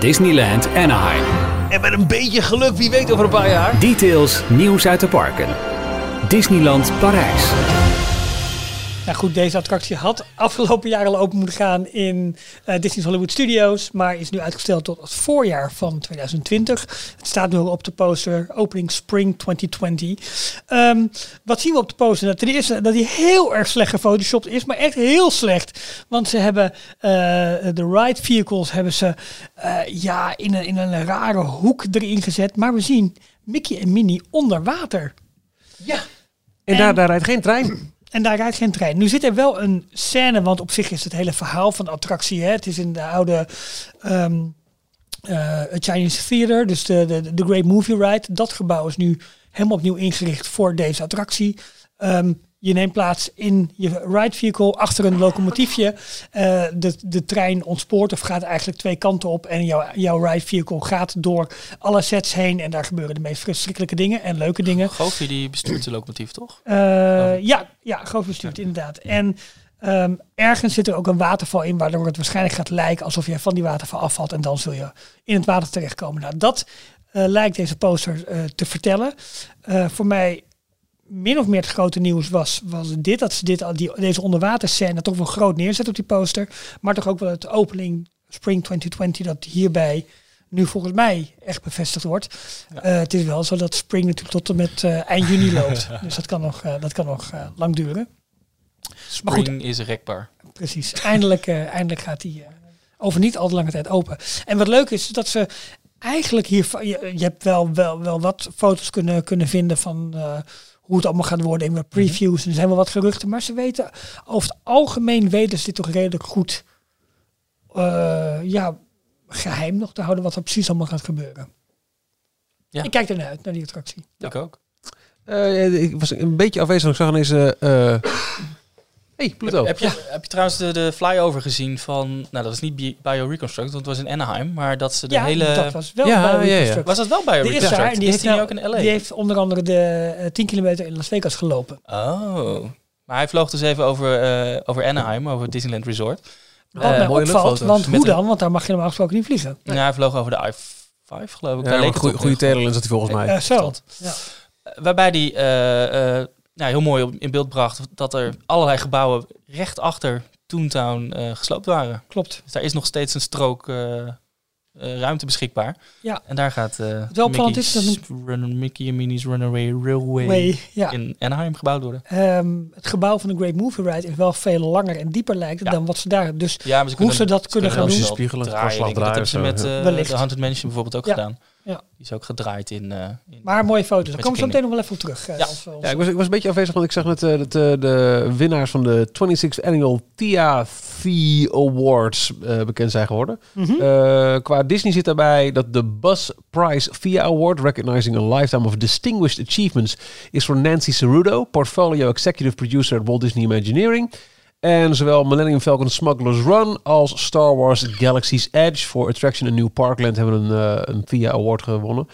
Speaker 1: Disneyland Anaheim.
Speaker 2: En met een beetje geluk, wie weet over een paar jaar...
Speaker 1: Details nieuws uit de parken. Disneyland Parijs.
Speaker 3: Nou goed, deze attractie had afgelopen jaar al open moeten gaan in eh, Disney's Hollywood Studios, maar is nu uitgesteld tot het voorjaar van 2020. Het staat nu ook op de poster, opening spring 2020. Ehm, wat zien we op de poster? Nou, ten eerste dat hij heel erg slecht gefotoshopt is, maar echt heel slecht. Want ze hebben eh, de ride vehicles hebben ze eh, ja, in, een, in een rare hoek erin gezet, maar we zien Mickey en Minnie onder water.
Speaker 2: En, daar, daar rijdt geen trein.
Speaker 3: En daar rijdt geen trein. Nu zit er wel een scène, want op zich is het hele verhaal van de attractie. Hè? Het is in de oude ehm, eh, Chinese Theater, dus de, de, de Great Movie Ride. Dat gebouw is nu helemaal opnieuw ingericht voor deze attractie. Ehm, je neemt plaats in je ride vehicle achter een locomotiefje. Eh, de, de trein ontspoort of gaat eigenlijk twee kanten op. En jouw, jouw ride vehicle gaat door alle sets heen. En daar gebeuren de meest verschrikkelijke dingen en leuke dingen.
Speaker 4: Goofy die bestuurt de locomotief, toch?
Speaker 3: Eh, ja, ja, groot bestuurd, inderdaad. En ehm, ergens zit er ook een waterval in, waardoor het waarschijnlijk gaat lijken alsof je van die waterval afvalt en dan zul je in het water terechtkomen. Nou, dat eh, lijkt deze poster eh, te vertellen. Eh, voor mij min of meer het grote nieuws was, was dit, dat ze dit, al- die, deze onderwaterscène toch wel groot neerzetten op die poster. Maar toch ook wel het opening Spring 2020 dat hierbij nu volgens mij echt bevestigd wordt. Eh, het is wel zo dat Spring natuurlijk tot en met eh, eind juni loopt. dus dat kan nog, eh, dat kan nog eh, lang duren. Maar goed.
Speaker 4: Spring is rekbaar.
Speaker 3: Precies. Eindelijk, eh, eindelijk gaat die eh, over niet al te lange tijd open. En wat leuk is, is dat ze eigenlijk hier... Je, je hebt wel, wel, wel wat foto's kunnen, kunnen vinden van... eh, hoe het allemaal gaat worden in
Speaker 4: Mhm.
Speaker 3: wat previews. En er zijn wel wat geruchten. Maar ze weten, over het algemeen weten ze dit toch redelijk goed eh, ja, geheim nog te houden. Wat er precies allemaal gaat gebeuren.
Speaker 4: Ja.
Speaker 3: Ik kijk ernaar uit, naar die attractie.
Speaker 4: Ik ook.
Speaker 2: Eh, ik was een beetje afwezig. Ik zag ineens... eh eh hey, Pluto.
Speaker 4: Heb je, heb je trouwens de, de flyover gezien van... Nou, dat is niet Bi- BioReconstruct, want het was in Anaheim. Maar dat ze de
Speaker 3: ja,
Speaker 4: hele...
Speaker 3: dat was wel
Speaker 2: Ja,
Speaker 3: bij
Speaker 2: ja, ja.
Speaker 3: Reconstruct.
Speaker 4: Was dat wel
Speaker 3: De is daar.
Speaker 4: BioReconstruct?
Speaker 3: en Die heeft,
Speaker 4: is die nu
Speaker 3: nou-
Speaker 4: ook in LA?
Speaker 3: die heeft onder andere de eh, 10 kilometer in Las Vegas gelopen.
Speaker 4: Oh. Maar hij vloog dus even over, eh, over Anaheim, over het Disneyland Resort.
Speaker 3: Wat
Speaker 4: Eh,
Speaker 3: mij
Speaker 2: mooie
Speaker 3: opvalt,
Speaker 2: luchtfoto's.
Speaker 3: want
Speaker 4: Met
Speaker 3: hoe
Speaker 4: een-
Speaker 3: dan? Want daar mag je normaal gesproken niet vliegen.
Speaker 4: Nou, hij vloog over de I-5, geloof ik. Daar
Speaker 2: Ja,
Speaker 4: leek
Speaker 2: een
Speaker 4: het
Speaker 2: goede, goede
Speaker 4: op in ieder
Speaker 2: telelenz had hij volgens mij.
Speaker 3: Eh, zo.
Speaker 4: dat.
Speaker 3: Ja.
Speaker 4: geval. Waarbij hij eh, eh, nou, heel mooi op- in beeld bracht dat er allerlei gebouwen recht achter Toontown eh, gesloopt waren.
Speaker 3: Klopt.
Speaker 4: Dus daar is nog steeds een strook eh, eh, ruimte beschikbaar.
Speaker 3: Ja.
Speaker 4: En daar gaat eh
Speaker 3: wel opvallend
Speaker 4: Mickey's
Speaker 3: is
Speaker 4: Run- Mickey en Minnie's Runaway Railway
Speaker 3: Way, ja.
Speaker 4: in Anaheim gebouwd worden.
Speaker 3: Ehm, het gebouw van de Great Movie Ride is wel veel langer en dieper lijkt het
Speaker 4: Ja.
Speaker 3: dan wat ze daar hebben. Dus
Speaker 4: Ja, maar ze
Speaker 3: Hoe ze dat kunnen gaan
Speaker 4: ook
Speaker 2: doen?
Speaker 4: snel
Speaker 2: Spiegelen,
Speaker 4: draaien,
Speaker 2: doorslag
Speaker 4: denk ik. Dat hebben ze
Speaker 2: draaien
Speaker 4: met
Speaker 2: of zo,
Speaker 4: eh,
Speaker 3: Wellicht.
Speaker 4: de Haunted Mansion bijvoorbeeld ook
Speaker 3: Ja,
Speaker 4: gedaan.
Speaker 3: ja.
Speaker 4: Die is ook gedraaid in... eh, in-
Speaker 3: maar mooie foto's. Daar
Speaker 4: Met
Speaker 3: komen we zo
Speaker 4: je
Speaker 3: meteen nog wel even op terug. eh,
Speaker 4: Ja.
Speaker 3: als we ons-
Speaker 2: Ja, ik was, ik was een beetje afwezig, want ik zag net eh, dat eh, de winnaars van de 26th Annual TIA Awards eh, bekend zijn geworden.
Speaker 3: Mhm.
Speaker 2: Eh, qua Disney zit daarbij dat de Buzz Prize VIA Award, Recognizing a Lifetime of Distinguished Achievements, is voor Nancy Cerudo, Portfolio Executive Producer at Walt Disney Imagineering. En zowel Millennium Falcon Smuggler's Run als Star Wars Galaxy's Edge voor Attraction in New Parkland hebben een, eh, een VIA Award gewonnen.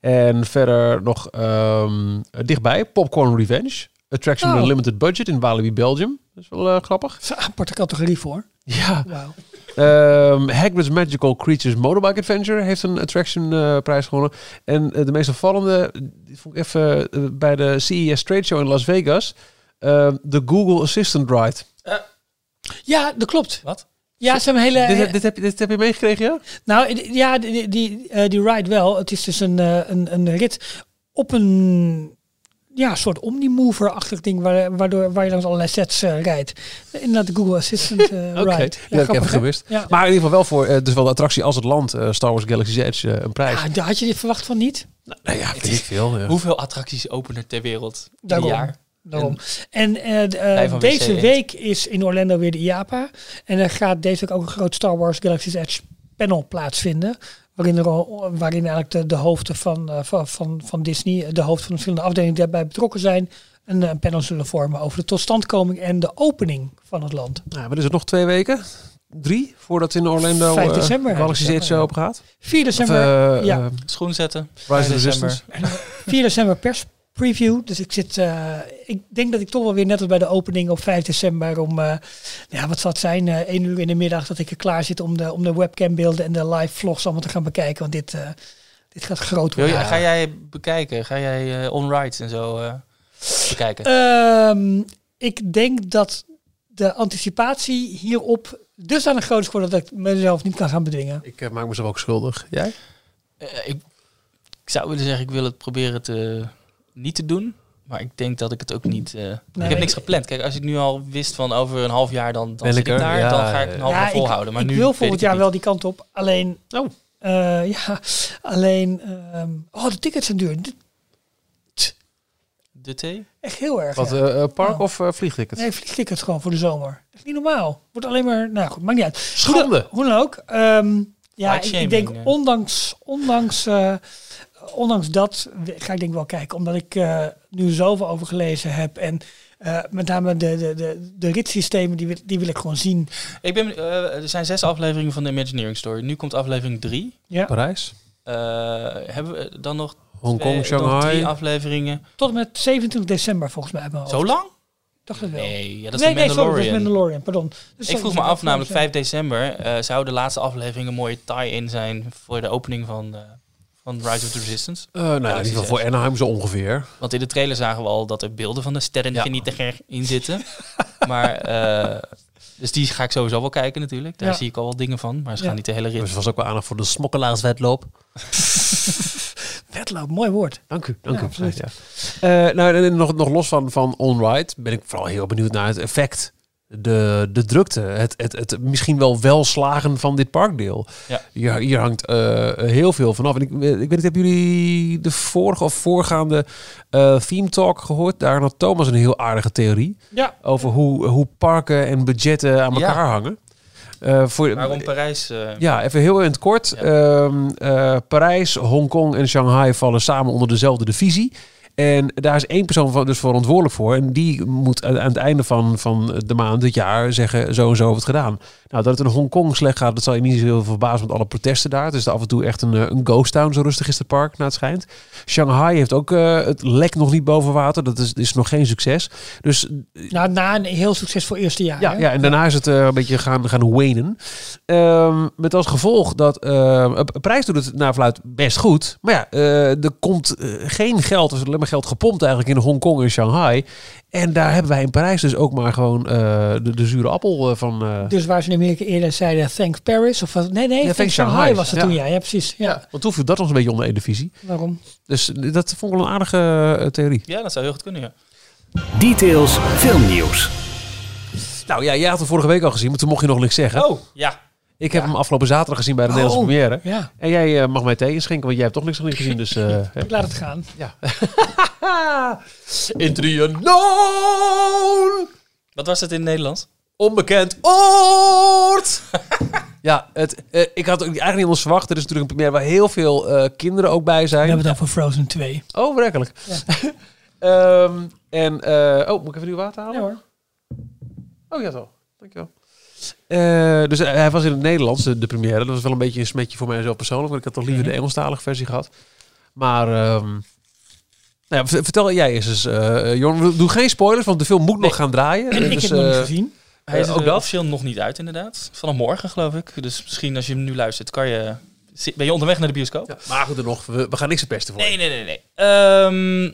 Speaker 2: En verder nog ehm, dichtbij Popcorn Revenge, Attraction with
Speaker 3: Oh.
Speaker 2: a Limited Budget in Walibi, Belgium. Dat is wel eh, grappig.
Speaker 3: Dat is een aparte categorie voor.
Speaker 2: Ja,
Speaker 3: Wauw.
Speaker 2: Ehm, Hagrid's Magical Creatures Motorbike Adventure heeft een attraction eh, prijs gewonnen. En eh, de meest opvallende, die vond ik even eh, bij de CES Trade Show in Las Vegas, ehm, de Google Assistant Ride.
Speaker 3: Ja, dat klopt.
Speaker 4: Wat?
Speaker 3: Ja, ze hebben een hele...
Speaker 2: dit, dit, heb, je- dit heb je meegekregen, ja?
Speaker 3: Nou, d- ja, d- die, die, eh, die ride wel. Het is dus een, eh, een, een rit op een ja, soort omnimover-achtig ding... Waar, waardoor, waar je langs allerlei sets eh, rijdt. Inderdaad, de Google Assistant eh,
Speaker 2: Oké,
Speaker 3: ride.
Speaker 2: ja, ik heb
Speaker 3: grappig,
Speaker 2: het
Speaker 3: hè?
Speaker 2: gewist.
Speaker 3: Ja.
Speaker 2: Maar in ieder geval wel voor eh, dus wel de attractie als het land eh, Star Wars Galaxy's Edge eh, een prijs.
Speaker 3: Ja, daar had je dit verwacht van niet.
Speaker 2: nou ja, vind ik veel. ja.
Speaker 4: Hoeveel attracties openen er ter wereld in een
Speaker 3: Daarom.
Speaker 4: jaar?
Speaker 3: Daarom. En eh, d- eh,
Speaker 4: Wij van
Speaker 3: deze
Speaker 4: WC1.
Speaker 3: week is in Orlando weer de IAPA. En er gaat deze week ook een groot Star Wars Galaxy's Edge panel plaatsvinden. Waarin, er, al- waarin eigenlijk de, de hoofden van, eh, van, van, van Disney, eh, de hoofden van de verschillende afdelingen die daarbij betrokken zijn, een eh, panel zullen vormen over de totstandkoming en de opening van het land.
Speaker 2: Nou, wat is het nog twee weken? Drie? Voordat in Orlando
Speaker 3: 5
Speaker 2: eh,
Speaker 3: december.
Speaker 2: Galaxy's Edge eh,
Speaker 3: Ja.
Speaker 2: open gaat?
Speaker 3: 4
Speaker 2: Of,
Speaker 3: december,
Speaker 2: eh,
Speaker 3: ja.
Speaker 2: eh,
Speaker 4: Schoen zetten.
Speaker 2: Rise of the
Speaker 4: december.
Speaker 2: Resistance.
Speaker 3: 4 december pers preview. Dus ik zit, eh, ik denk dat ik toch wel weer net als bij de opening op 5 december om, eh, ja, wat zal het zijn, eh 1 uur in de middag dat ik er klaar zit om de, om de webcambeelden en de live vlogs allemaal te gaan bekijken. Want dit, eh, dit gaat groot
Speaker 4: Wil je,
Speaker 3: worden.
Speaker 4: Ga jij bekijken? Ga jij eh on-rides en zo? eh? bekijken?
Speaker 3: Ehm, ik denk dat de anticipatie hierop dus dusdanig groot is geworden dat ik mezelf niet kan gaan bedwingen.
Speaker 2: Ik eh, maak mezelf ook schuldig. Jij?
Speaker 4: Eh, ik, ik zou willen zeggen, ik wil het proberen te, niet te doen. Maar ik denk dat ik het ook niet... eh, ik heb
Speaker 3: ik-
Speaker 4: niks gepland. Kijk, als ik nu al wist van over een half jaar dan, dan
Speaker 2: Ben ik
Speaker 4: zit ik
Speaker 2: er?
Speaker 4: daar.
Speaker 2: Ja,
Speaker 4: dan ga ik een half jaar
Speaker 3: ik,
Speaker 4: volhouden. Maar
Speaker 3: ik
Speaker 4: nu
Speaker 3: wil
Speaker 4: weet
Speaker 3: volgend
Speaker 4: ik
Speaker 3: jaar
Speaker 4: het
Speaker 3: wel die kant op. Alleen,
Speaker 2: Oh.
Speaker 3: eh, ja, alleen, ehm, oh, de tickets zijn duur. Dit-
Speaker 4: niet. De thee?
Speaker 3: Echt heel erg.
Speaker 2: Wat,
Speaker 3: ja.
Speaker 2: eh, eh, park
Speaker 3: Oh.
Speaker 2: of eh, vliegticket?
Speaker 3: Nee, vliegtickets gewoon voor de zomer. Dat is niet normaal. Wordt alleen maar, nou goed, maakt niet uit.
Speaker 2: Schande!
Speaker 3: Hoe dan ook. ehm, ja, ik,
Speaker 4: Like
Speaker 3: ik
Speaker 4: shaming,
Speaker 3: denk
Speaker 4: eh.
Speaker 3: ondanks, ondanks, eh, ondanks dat we- ga ik denk wel kijken. Omdat ik eh, nu zoveel over gelezen heb. En eh, met name de, de, de, de ritssystemen, die wil, die wil ik gewoon zien.
Speaker 4: Ik ben, eh, er zijn zes afleveringen van de Imagineering Story. Nu komt aflevering drie.
Speaker 3: Ja.
Speaker 2: Parijs,
Speaker 4: Eh, hebben we dan nog twee-
Speaker 2: Hongkong,
Speaker 4: nog
Speaker 2: Shanghai.
Speaker 4: drie afleveringen?
Speaker 3: Tot en met 27 december volgens mij. uit mijn hoofd.
Speaker 4: Zo lang?
Speaker 3: Ik dacht het wel.
Speaker 4: Nee, ja, dat is
Speaker 3: nee,
Speaker 4: de
Speaker 3: nee, sorry,
Speaker 4: Mandalorian.
Speaker 3: dat is Mandalorian, pardon. Dus
Speaker 4: ik
Speaker 3: dat
Speaker 4: vroeg
Speaker 3: is
Speaker 4: me af,
Speaker 3: Mandalorian.
Speaker 4: namelijk 5 december eh, zou de laatste aflevering een mooie tie-in zijn voor de opening van, eh, van Rise of the Resistance.
Speaker 2: Eh nou, in ieder geval voor Anaheim zo ongeveer.
Speaker 4: Want in de trailer zagen we al dat er beelden van de
Speaker 2: Ja.
Speaker 4: sterrengenieter in zitten. maar, eh, dus die ga ik sowieso wel kijken natuurlijk. Daar
Speaker 3: Ja.
Speaker 4: zie ik al wel dingen van, maar ze
Speaker 3: Ja.
Speaker 4: gaan niet de hele
Speaker 2: Dus
Speaker 4: rit.
Speaker 2: er was ook wel aandacht voor de smokkelaarswedloop.
Speaker 3: Wedloop, mooi woord.
Speaker 2: Dank u, dank
Speaker 3: Ja,
Speaker 2: u.
Speaker 3: absoluut.
Speaker 2: Ja. Eh, nou, en, en nog, nog los van, van on-ride ben ik vooral heel benieuwd naar het effect. De, de drukte, het, het, het misschien wel wel slagen van dit parkdeel.
Speaker 4: Ja.
Speaker 2: Hier, hier hangt eh, heel veel vanaf. En ik, eh, ik weet niet, hebben jullie de vorige of voorgaande eh, theme talk gehoord? Daar had Thomas een heel aardige theorie
Speaker 3: Ja.
Speaker 2: over hoe, hoe parken en budgetten aan
Speaker 4: Ja.
Speaker 2: elkaar hangen. Eh, voor,
Speaker 4: Waarom Parijs? eh,
Speaker 2: ja, even heel in het kort.
Speaker 4: Ja.
Speaker 2: Ehm, eh, Parijs, Hongkong en Shanghai vallen samen onder dezelfde divisie. En daar is één persoon van, dus verantwoordelijk voor. En die moet aan aan het einde van, van de maand, dit jaar, zeggen zo en zo heeft het gedaan. Nou, dat het in Hongkong slecht gaat, dat zal je niet zo heel verbazen met alle protesten daar. Het is af en toe echt een, eh, een ghost town, zo rustig is het park, naar het schijnt. Shanghai heeft ook eh, het lek nog niet boven water. Dat is, is nog geen succes. Dus
Speaker 3: Nou, na een heel succesvol eerste jaar.
Speaker 2: ja,
Speaker 3: hè?
Speaker 2: ja, en daarna is het eh, een beetje gaan, gaan wanen. Ehm, met als gevolg dat ehm, P- Prijs doet het naar verluid best goed. Maar ja, eh, er komt eh, geen geld, dus alleen maar geld gepompt eigenlijk in Hongkong en Shanghai. En daar hebben wij in Parijs dus ook maar gewoon eh, de, de zure appel eh, van. eh,
Speaker 3: Dus waar ze in Amerika eerder zeiden, thanks Paris. Of wat- nee, nee,
Speaker 2: thanks
Speaker 3: thanks Shanghai,
Speaker 2: Shanghai.
Speaker 3: was het
Speaker 2: Ja.
Speaker 3: toen. Ja, ja precies. Ja,
Speaker 2: Want toen viel dat ons een beetje onder de divisie.
Speaker 3: waarom?
Speaker 2: Dus dat vond ik wel een aardige eh, theorie.
Speaker 4: ja, dat zou heel goed kunnen, ja.
Speaker 1: Details filmnieuws.
Speaker 2: Nou ja, jij had hem vorige week al gezien, maar toen mocht je nog niks zeggen.
Speaker 4: Oh, ja.
Speaker 2: Ik heb hem afgelopen zaterdag gezien bij de
Speaker 3: Oh.
Speaker 2: Nederlandse première.
Speaker 3: Ja,
Speaker 2: En jij eh, mag mij thee inschenken, want jij hebt toch niks nog niet gezien. Dus, eh, hè?
Speaker 3: ik laat het gaan.
Speaker 2: Intrionoon!
Speaker 4: Wat was het in het Nederlands?
Speaker 2: Eh, Onbekend oord! ja, het, eh, ik had ook eigenlijk niet anders verwacht. Er is natuurlijk een première waar heel veel eh, kinderen ook bij
Speaker 3: We
Speaker 2: zijn.
Speaker 3: hebben het over Frozen 2.
Speaker 2: Oh, werkelijk. Ehm, en, eh, oh, moet ik even nieuw water halen?
Speaker 3: hoor.
Speaker 2: Oh, ja, zo. Dankjewel. Eh dus eh, hij was in het Nederlands, de, de première. Dat was wel een beetje een smetje voor mijzelf persoonlijk. Want ik had toch liever
Speaker 3: Mhm.
Speaker 2: de Engelstalige versie gehad. Maar, ehm, nou ja, v- vertel jij eens eens. eh, Jorn, doe geen spoilers, want de film moet nog gaan draaien. Eh,
Speaker 3: ik
Speaker 2: dus,
Speaker 3: heb het nog
Speaker 2: eh,
Speaker 3: niet gezien.
Speaker 4: Hij
Speaker 2: Eh,
Speaker 4: is
Speaker 2: ook
Speaker 4: ook
Speaker 2: dat?
Speaker 4: officieel nog niet uit, inderdaad. Vanaf morgen, geloof ik. Dus misschien als je hem nu luistert, kan je... zi- Ben je onderweg naar de bioscoop?
Speaker 2: ja, maar goed, er nog, we, we gaan niks te pesten voor.
Speaker 4: Nee, nee, nee, nee. Ehm,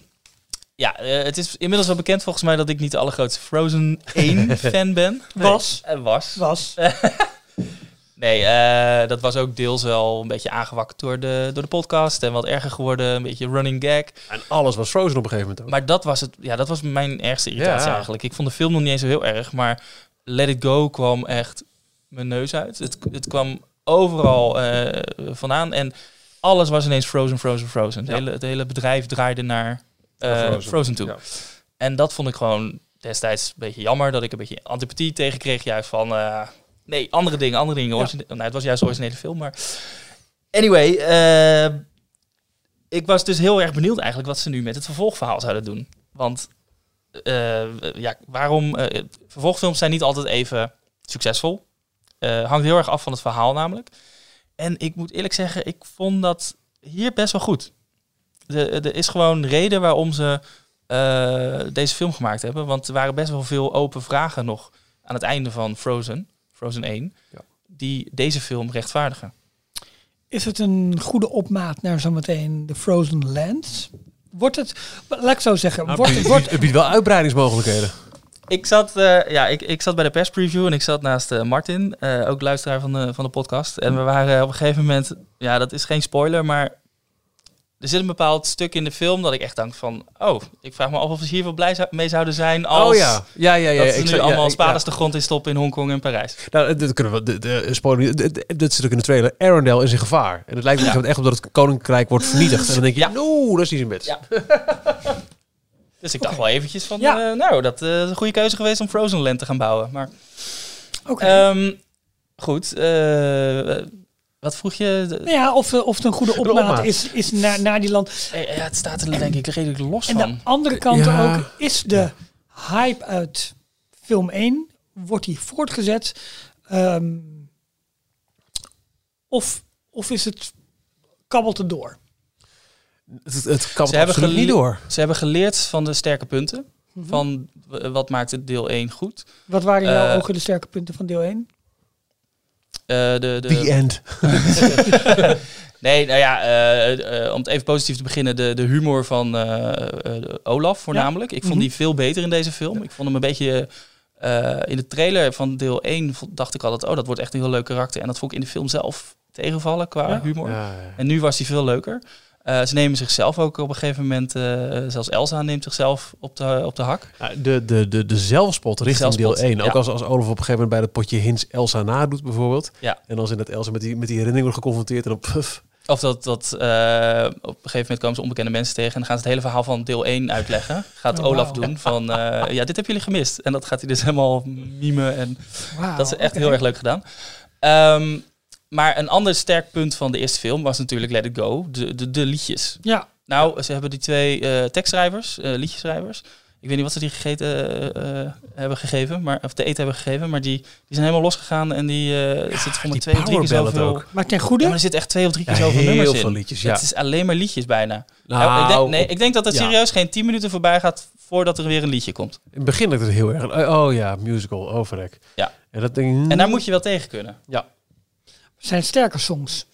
Speaker 4: ja, eh, het is inmiddels wel bekend volgens mij dat ik niet de allergrootste Frozen 1 fan ben.
Speaker 3: Was.
Speaker 4: Eh, was.
Speaker 3: Was.
Speaker 4: Nee, eh, dat was ook deels wel een beetje aangewakkerd door de, door de podcast en wat erger geworden, een beetje running gag.
Speaker 2: En alles was Frozen op een gegeven moment ook.
Speaker 4: Maar dat was, het, ja, dat was mijn ergste irritatie
Speaker 2: Ja.
Speaker 4: eigenlijk. Ik vond de film nog niet eens zo heel erg, maar Let It Go kwam echt mijn neus uit. Het, het kwam overal eh, vandaan en alles was ineens Frozen, Frozen, Frozen. Het,
Speaker 2: Ja.
Speaker 4: hele, het hele bedrijf draaide naar eh,
Speaker 2: Naar Frozen.
Speaker 4: Frozen. toe.
Speaker 2: Ja.
Speaker 4: En dat vond ik gewoon destijds een beetje jammer, dat ik een beetje antipathie tegenkreeg juist van... eh, nee, andere dingen, andere dingen. Origine- nou, het was juist een originele film, maar... Anyway, eh, ik was dus heel erg benieuwd eigenlijk wat ze nu met het vervolgverhaal zouden doen. Want eh, ja, waarom... eh, vervolgfilms zijn niet altijd even succesvol. Eh, hangt heel erg af van het verhaal namelijk. En ik moet eerlijk zeggen, ik vond dat hier best wel goed. De- Er is gewoon reden waarom ze eh, deze film gemaakt hebben. Want er waren best wel veel open vragen nog aan het einde van Frozen, Frozen 1,
Speaker 2: Ja.
Speaker 4: die deze film rechtvaardigen.
Speaker 3: Is het een goede opmaat naar zometeen de Frozen Lands? Wordt het, laat ik het zo zeggen,
Speaker 2: Nou,
Speaker 3: wordt,
Speaker 2: het,
Speaker 3: het-
Speaker 2: biedt,
Speaker 3: wordt,
Speaker 2: het biedt wel uitbreidingsmogelijkheden.
Speaker 4: Ik zat, eh, ja, ik, ik zat bij de perspreview en ik zat naast eh, Martin, eh, ook luisteraar van de, van de podcast. En we waren op een gegeven moment, ja, dat is geen spoiler, maar er zit een bepaald stuk in de film dat ik echt denk van, oh, ik vraag me af of ze hiervoor blij zou- mee zouden zijn als
Speaker 2: oh ja, ja, ja. ja
Speaker 4: dat ze
Speaker 2: ik
Speaker 4: nu
Speaker 2: zou- ja,
Speaker 4: allemaal
Speaker 2: ik-
Speaker 4: spaders de grond in stoppen in Hongkong en Parijs.
Speaker 2: ja. Nou, dat kunnen we. De, de, spoiler niet. Dat- dat- dat zit ook in de trailer. Arendelle is in gevaar. En het lijkt me echt op dat het koninkrijk wordt vernietigd. En dan denk je,
Speaker 4: Ja.
Speaker 2: oeh, Nou, dat is niet in bed.
Speaker 4: Ja. Dus ik dacht wel eventjes van,
Speaker 3: Ja.
Speaker 4: eh, nou, dat eh, is een goede keuze geweest om Frozenland te gaan bouwen. Maar
Speaker 3: oké.
Speaker 2: Eh,
Speaker 4: Ehm, goed, eh, wat vroeg je? De-
Speaker 3: Nou ja, of, eh, of het een goede opmaat,
Speaker 2: opmaat.
Speaker 3: is, is naar, naar die land.
Speaker 4: eh, ja, het staat er denk ik redelijk los
Speaker 3: En de
Speaker 4: van.
Speaker 3: andere kant
Speaker 2: Ja.
Speaker 3: ook is de hype uit film 1, wordt die voortgezet? Ehm, of, of is het kabbelt het door?
Speaker 2: Het, het kan
Speaker 4: Ze hebben
Speaker 2: absoluut niet
Speaker 4: gele-
Speaker 2: door.
Speaker 4: Ze hebben geleerd van de sterke punten. Van w- wat maakt het deel 1 goed.
Speaker 3: Wat waren in jouw
Speaker 4: Eh,
Speaker 3: ogen de sterke punten van deel 1?
Speaker 4: Eh, de, de,
Speaker 2: The end.
Speaker 4: nee, nou ja, eh, eh, om het even positief te beginnen. De, de humor van eh, eh, Olaf voornamelijk. Ik vond die veel beter in deze film. Ik vond hem een beetje... eh, in de trailer van deel 1 vo- dacht ik altijd... Oh, dat wordt echt een heel leuk karakter. En dat vond ik in de film zelf tegenvallen qua
Speaker 3: Ja.
Speaker 4: humor.
Speaker 2: Ja, ja.
Speaker 4: En nu was hij veel leuker. Eh, ze nemen zichzelf ook op een gegeven moment, eh, zelfs Elsa neemt zichzelf op de, op de hak.
Speaker 2: Ja, De, de, de, de zelfspot richting
Speaker 4: Zelfspot,
Speaker 2: deel 1. Ook
Speaker 4: ja.
Speaker 2: als, als Olaf op een gegeven moment bij dat potje Hins Elsa nadoet bijvoorbeeld.
Speaker 4: Ja.
Speaker 2: En dan is dat Elsa met die, met die herinnering wordt geconfronteerd. En dan puf.
Speaker 4: Of dat, dat eh, op een gegeven moment komen ze onbekende mensen tegen en dan gaan ze het hele verhaal van deel 1 uitleggen. Gaat
Speaker 3: Oh,
Speaker 4: Olaf
Speaker 3: wauw.
Speaker 4: doen van, eh, ja, dit hebben jullie gemist. En dat gaat hij dus helemaal mimen en
Speaker 3: Ah,
Speaker 4: dat is echt heel erg leuk gedaan. Ehm, maar een ander sterk punt van de eerste film was natuurlijk Let It Go, de, de, de liedjes.
Speaker 3: Ja,
Speaker 4: Nou, ze hebben die twee eh, tekstschrijvers, eh liedjeschrijvers. Ik weet niet wat ze die gegeten eh, eh, hebben gegeven, maar, of te eten hebben gegeven, maar die, die zijn helemaal losgegaan en die eh, er zitten voor mij
Speaker 2: die
Speaker 4: twee of drie keer
Speaker 2: powerballad
Speaker 4: zoveel.
Speaker 2: ook.
Speaker 3: maar ten
Speaker 4: Ja,
Speaker 3: goede.
Speaker 4: maar er zit echt twee of drie keer
Speaker 2: Ja,
Speaker 4: zoveel
Speaker 2: heel
Speaker 4: nummers in.
Speaker 2: veel liedjes, ja.
Speaker 4: Het is alleen maar liedjes bijna.
Speaker 2: Nou,
Speaker 4: ik denk, nee, ik denk dat het
Speaker 2: ja.
Speaker 4: serieus geen tien minuten voorbij gaat voordat er weer een liedje komt.
Speaker 2: In het begin lijkt het heel erg. aan, Oh ja, musical, overrek.
Speaker 4: Ja.
Speaker 2: En dat denk ik...
Speaker 4: En daar moet je wel tegen kunnen.
Speaker 3: zijn sterke songs.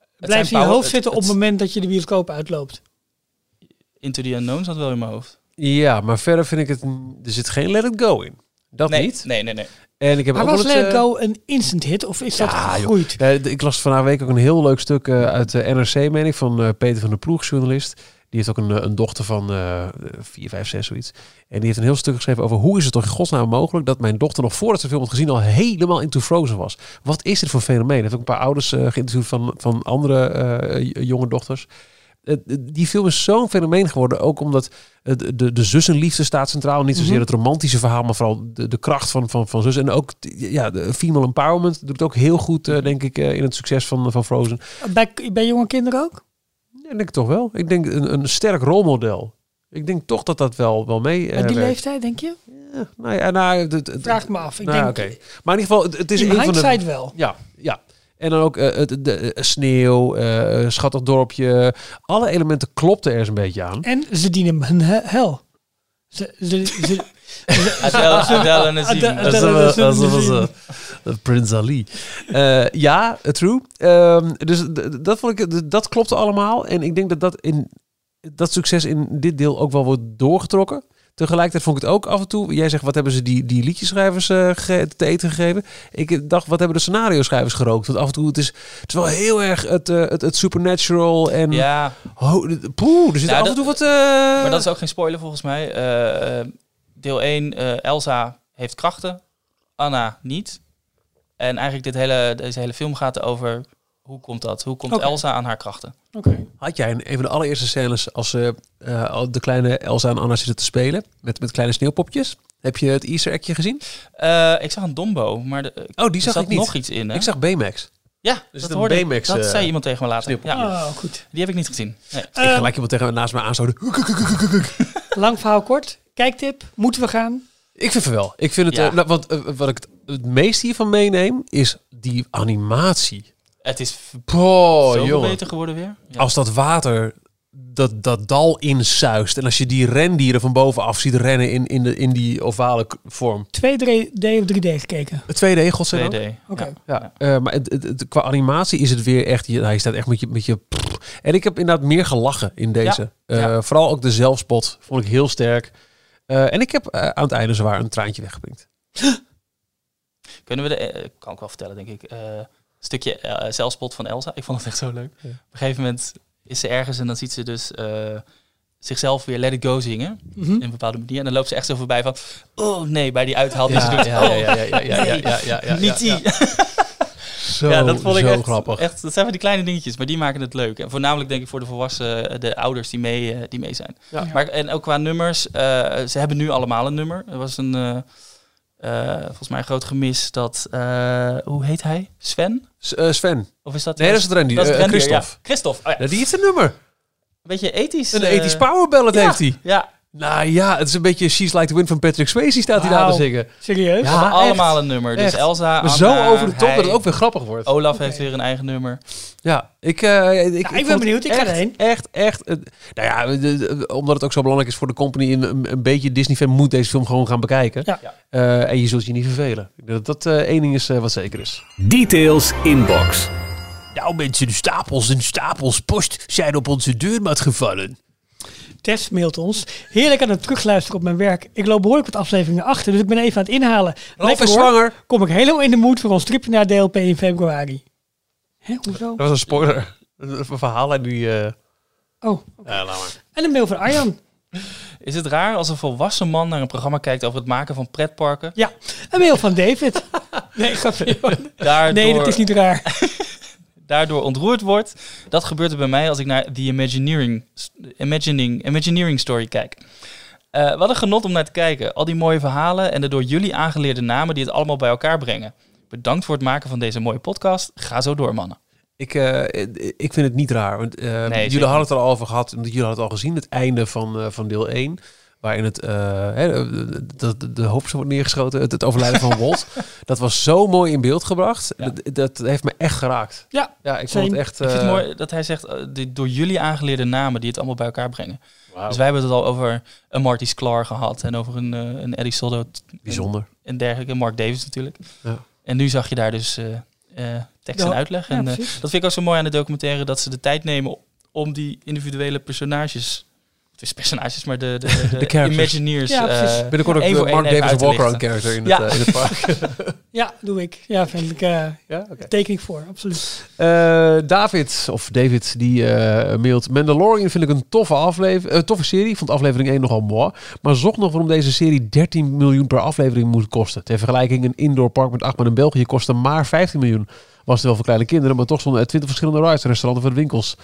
Speaker 4: Het
Speaker 3: Blijf in
Speaker 4: zijn
Speaker 3: je
Speaker 4: power-
Speaker 3: hoofd
Speaker 4: het-
Speaker 3: zitten op het
Speaker 4: het-
Speaker 3: moment dat je de bioscoop uitloopt.
Speaker 4: Into the Unknown zat wel in mijn hoofd.
Speaker 2: Ja, maar verder vind ik het... Er zit geen Let It Go in. Dat
Speaker 4: nee,
Speaker 2: niet.
Speaker 4: Nee, nee, nee.
Speaker 2: En ik heb
Speaker 3: Maar
Speaker 2: ook
Speaker 3: was
Speaker 2: wel eens,
Speaker 3: Let It
Speaker 2: eh,
Speaker 3: Go een instant hit of is dat
Speaker 2: Ja, joh.
Speaker 3: gegroeid?
Speaker 2: Ja, Eh, d- ik las vanavond week ook een heel leuk stuk eh, uit de NRC, meen ik, van eh, Peter van der Ploeg, journalist. Die heeft ook een, eh, een dochter van eh 4, 5, 6, zoiets. En die heeft een heel stuk geschreven over hoe is het toch in godsnaam mogelijk dat mijn dochter nog voordat ze de film had gezien al helemaal into Frozen was. Wat is dit voor fenomeen? Hij heeft ook een paar ouders eh, geïnterviewd van, van andere eh, j- jonge dochters. Eh, eh, die film is zo'n fenomeen geworden, ook omdat eh, de, de, de zussenliefde staat centraal. Niet zozeer
Speaker 3: Mhm.
Speaker 2: het romantische verhaal, maar vooral de, de kracht van, van, van zus. En ook t- ja, de female empowerment doet het ook heel goed, eh, denk ik, eh, in het succes van, van Frozen.
Speaker 3: Bij, bij jonge kinderen ook?
Speaker 2: Ja, denk ik toch wel. Ik denk een, een sterk rolmodel. Ik denk toch dat dat wel, wel mee. eh,
Speaker 3: Bij die
Speaker 2: werkt.
Speaker 3: leeftijd, denk je?
Speaker 2: Ja, nou ja, nou, het- het- het-
Speaker 3: Vraag me af. Ik
Speaker 2: nou,
Speaker 3: denk,
Speaker 2: oké. Maar in ieder geval, het, het is
Speaker 3: in
Speaker 2: een van de.
Speaker 3: hindsight wel.
Speaker 2: Ja, ja. En dan ook eh, het, de, eh, sneeuw, eh, schattig dorpje. Alle elementen klopten er eens een beetje aan.
Speaker 3: En ze dienen hem een he- hel. Ze, ze, ze,
Speaker 4: Adele, Adele en Nazim.
Speaker 3: Adele- Adele- Dat is wel- dat is wel- dat is wel-
Speaker 2: Prins Ali. Eh, ja, eh, true. Ehm, dus d- dat, vond ik, d- dat klopte allemaal. En ik denk dat dat, in, dat succes in dit deel ook wel wordt doorgetrokken. Tegelijkertijd vond ik het ook af en toe... Jij zegt, wat hebben ze die, die liedjeschrijvers eh, ge- te eten gegeven? Ik dacht, wat hebben de scenario-schrijvers gerookt? Want af en toe, het is, het is wel heel erg het, eh, het, het supernatural. En
Speaker 4: Ja,
Speaker 2: ho, d- poeh, er zit
Speaker 4: Nou,
Speaker 2: af en
Speaker 4: dat-
Speaker 2: toe wat... eh,
Speaker 4: Maar dat is ook geen spoiler volgens mij. Eh, eh, deel 1, eh, Elsa heeft krachten, Anna niet. En eigenlijk dit hele, deze hele film gaat over hoe komt dat? Hoe komt
Speaker 3: Oké.
Speaker 4: Elsa aan haar krachten?
Speaker 2: Had jij in een van de allereerste scènes als ze eh, al de kleine Elsa en Anna zitten te spelen met, met kleine sneeuwpopjes? Heb je het Easter eggje gezien?
Speaker 4: Eh, ik zag een Dombo, maar de, eh,
Speaker 2: Oh, die
Speaker 4: er
Speaker 2: zat
Speaker 4: zat
Speaker 2: ik niet.
Speaker 4: nog iets in. Hè?
Speaker 2: Ik zag Baymax.
Speaker 4: ja,
Speaker 2: zit
Speaker 4: dat
Speaker 2: een
Speaker 4: hoorde ik.
Speaker 2: B-Max,
Speaker 4: Dat
Speaker 2: eh,
Speaker 4: zei iemand tegen me later.
Speaker 2: sneeuwpopje.
Speaker 4: Ja,
Speaker 3: Oh, goed.
Speaker 4: die heb ik niet gezien. Nee.
Speaker 2: ik
Speaker 3: Eh,
Speaker 2: gelijk iemand tegen naast me aanstoten.
Speaker 3: lang verhaal kort. Kijktip. Moeten we gaan?
Speaker 2: Ik vind het wel. Ik vind het,
Speaker 4: Ja.
Speaker 2: eh, nou, want, eh, wat ik het, het meest hiervan meeneem is die animatie.
Speaker 4: Het is v-
Speaker 2: Boah,
Speaker 4: zoveel
Speaker 2: Oh, jongen. Oh,
Speaker 4: beter geworden weer. Ja.
Speaker 2: Als dat water dat, dat dal insuist en als je die rendieren van bovenaf ziet rennen in, in, de, in die ovale k- vorm.
Speaker 3: 2D of 3D gekeken?
Speaker 2: 2D, godzijdank.
Speaker 4: 2D.
Speaker 3: Oké.
Speaker 4: Ja.
Speaker 2: Ja, eh, maar het, het- het- qua animatie is het weer echt... je- nou, Je staat echt met je, met je, pff, genoeg. En ik heb inderdaad meer gelachen in deze.
Speaker 4: Ja, ja.
Speaker 2: Eh, Vooral ook de zelfspot vond ik heel sterk. Eh, en ik heb eh, aan het einde zwaar een traantje weggepinkt.
Speaker 4: Kunnen we de, eh, kan ik wel vertellen, denk ik. eh stukje eh, zelfspot van Elsa. Ik vond het echt zo leuk.
Speaker 2: Ja.
Speaker 4: Op een gegeven moment is ze ergens en dan ziet ze dus eh, zichzelf weer Let It Go zingen.
Speaker 3: Mhm.
Speaker 4: In een bepaalde manier. En dan loopt ze echt zo voorbij van... Oh nee, bij die uithaal die ze doet. Oh, Nee, Niet die.
Speaker 2: Zo,
Speaker 4: ja, dat vond ik
Speaker 2: zo
Speaker 4: echt,
Speaker 2: grappig.
Speaker 4: echt. Dat zijn van die kleine dingetjes, maar die maken het leuk. En voornamelijk denk ik voor de volwassenen, de ouders die mee, eh, die mee zijn.
Speaker 2: Ja.
Speaker 4: Maar, en ook qua nummers, eh, ze hebben nu allemaal een nummer. Er was een, eh, eh, volgens mij een groot gemis dat, eh, hoe heet hij? Sven?
Speaker 2: S- eh, Sven.
Speaker 4: Of is dat?
Speaker 2: Nee, dat is het rendier.
Speaker 4: dat is het
Speaker 2: Eh,
Speaker 4: rendier,
Speaker 2: Christophe.
Speaker 4: ja. Christophe, oh ja.
Speaker 2: Nou, die heeft een nummer.
Speaker 4: Een beetje ethisch.
Speaker 2: Een
Speaker 4: eh,
Speaker 2: 80s power ballad heeft hij.
Speaker 4: Ja,
Speaker 2: Nou ja, het is een beetje She's Like the Wind van Patrick Swayze staat hij daar
Speaker 3: Wauw.
Speaker 2: te zingen.
Speaker 3: Serieus?
Speaker 2: Ja, Ah, echt.
Speaker 4: allemaal een nummer. Dus
Speaker 2: Echt.
Speaker 4: Elsa,
Speaker 2: Maar
Speaker 4: Anna,
Speaker 2: zo over de top
Speaker 4: hij,
Speaker 2: dat het ook weer grappig wordt.
Speaker 4: Olaf
Speaker 3: Oké.
Speaker 4: heeft weer een eigen nummer.
Speaker 2: Ja, ik, eh, ik,
Speaker 3: ben
Speaker 2: vond
Speaker 3: benieuwd. Nou, Ik ga
Speaker 2: echt,
Speaker 3: erheen.
Speaker 2: Echt, echt. eh, nou ja, de- de- omdat het ook zo belangrijk is voor de company, een, een, een beetje Disney-fan moet deze film gewoon gaan bekijken.
Speaker 3: Ja.
Speaker 4: Ja.
Speaker 2: Eh, en je zult je niet vervelen. Ik denk Dat dat eh, één ding is eh, wat zeker is.
Speaker 1: Details inbox.
Speaker 2: Nou mensen, stapels en stapels post zijn op onze deurmat gevallen.
Speaker 3: Tess mailt ons. Heerlijk aan het terugluisteren op mijn werk. Ik loop behoorlijk wat afleveringen achter, dus ik ben even aan het inhalen.
Speaker 2: Ralf
Speaker 3: Lekker
Speaker 2: is
Speaker 3: hoor.
Speaker 2: zwanger.
Speaker 3: Kom ik helemaal in de moed voor ons tripje naar DLP in februari. Hè, hoezo?
Speaker 2: Dat was een spoiler. Een verhaal en die... eh,
Speaker 3: Oh.
Speaker 2: ja, laat maar.
Speaker 3: En een mail van Arjan.
Speaker 4: Is het raar als een volwassen man naar een programma kijkt over het maken van pretparken?
Speaker 3: Ja, een mail van David. Nee, grapje.
Speaker 4: Daardoor,
Speaker 3: Nee, dat is niet raar.
Speaker 4: daardoor ontroerd wordt. Dat gebeurt er bij mij als ik naar The Imagineering, Imagining, Imagineering Story kijk. Eh, wat een genot om naar te kijken. Al die mooie verhalen en de door jullie aangeleerde namen die het allemaal bij elkaar brengen. Bedankt voor het maken van deze mooie podcast. Ga zo door, mannen.
Speaker 2: Ik, eh, ik vind het niet raar. Want, eh,
Speaker 4: zeker
Speaker 2: jullie hadden het er al over gehad. Omdat jullie hadden het al gezien. Het einde van, eh, van deel 1. Waarin het, eh, hè, de, de, de, de hoop zo wordt neergeschoten. Het, het overlijden van Walt. Dat was zo mooi in beeld gebracht.
Speaker 4: Ja.
Speaker 2: Dat, dat heeft me echt geraakt.
Speaker 3: Ja,
Speaker 2: Ja, ik
Speaker 3: Same.
Speaker 2: vond het echt...
Speaker 4: Ik vind het
Speaker 2: eh,
Speaker 4: mooi dat hij zegt, eh, die door jullie aangeleerde namen die het allemaal bij elkaar brengen.
Speaker 2: wauw.
Speaker 4: Dus wij hebben het al over een Marty Sklar gehad en over een, eh, een Eddie Soldo
Speaker 2: Bijzonder.
Speaker 4: en dergelijke. Mark Davis natuurlijk.
Speaker 2: Ja.
Speaker 4: En nu zag je daar dus eh, eh, tekst en
Speaker 3: Ja.
Speaker 4: uitleg.
Speaker 3: Ja,
Speaker 4: en, eh,
Speaker 3: precies.
Speaker 4: dat vind ik ook zo mooi aan de documentaire, dat ze de tijd nemen om die individuele personages, het is personages, maar de, de, de,
Speaker 2: De characters.
Speaker 4: Imagineers.
Speaker 3: Ja, precies.
Speaker 4: eh,
Speaker 2: Binnenkort ook
Speaker 4: één
Speaker 2: de
Speaker 4: voor één
Speaker 2: Mark
Speaker 4: even
Speaker 2: Davis
Speaker 4: uit te
Speaker 2: Walker
Speaker 4: lichten.
Speaker 2: een character in,
Speaker 4: Ja.
Speaker 2: het, eh, in het park.
Speaker 3: ja, doe ik. Ja, vind ik. eh
Speaker 2: ja, oké.
Speaker 3: tekening voor, absoluut.
Speaker 2: Eh, David, of David, die eh, mailt... Mandalorian vind ik een toffe, aflevering, toffe serie. Ik vond aflevering 1 nogal mooi. Maar zocht nog waarom deze serie 13 miljoen per aflevering moet kosten. Ter vergelijking, een indoorpark met Achtman in België kostte maar 15 miljoen. Was het wel voor kleine kinderen, maar toch stonden er 20 verschillende rides, restauranten en winkels.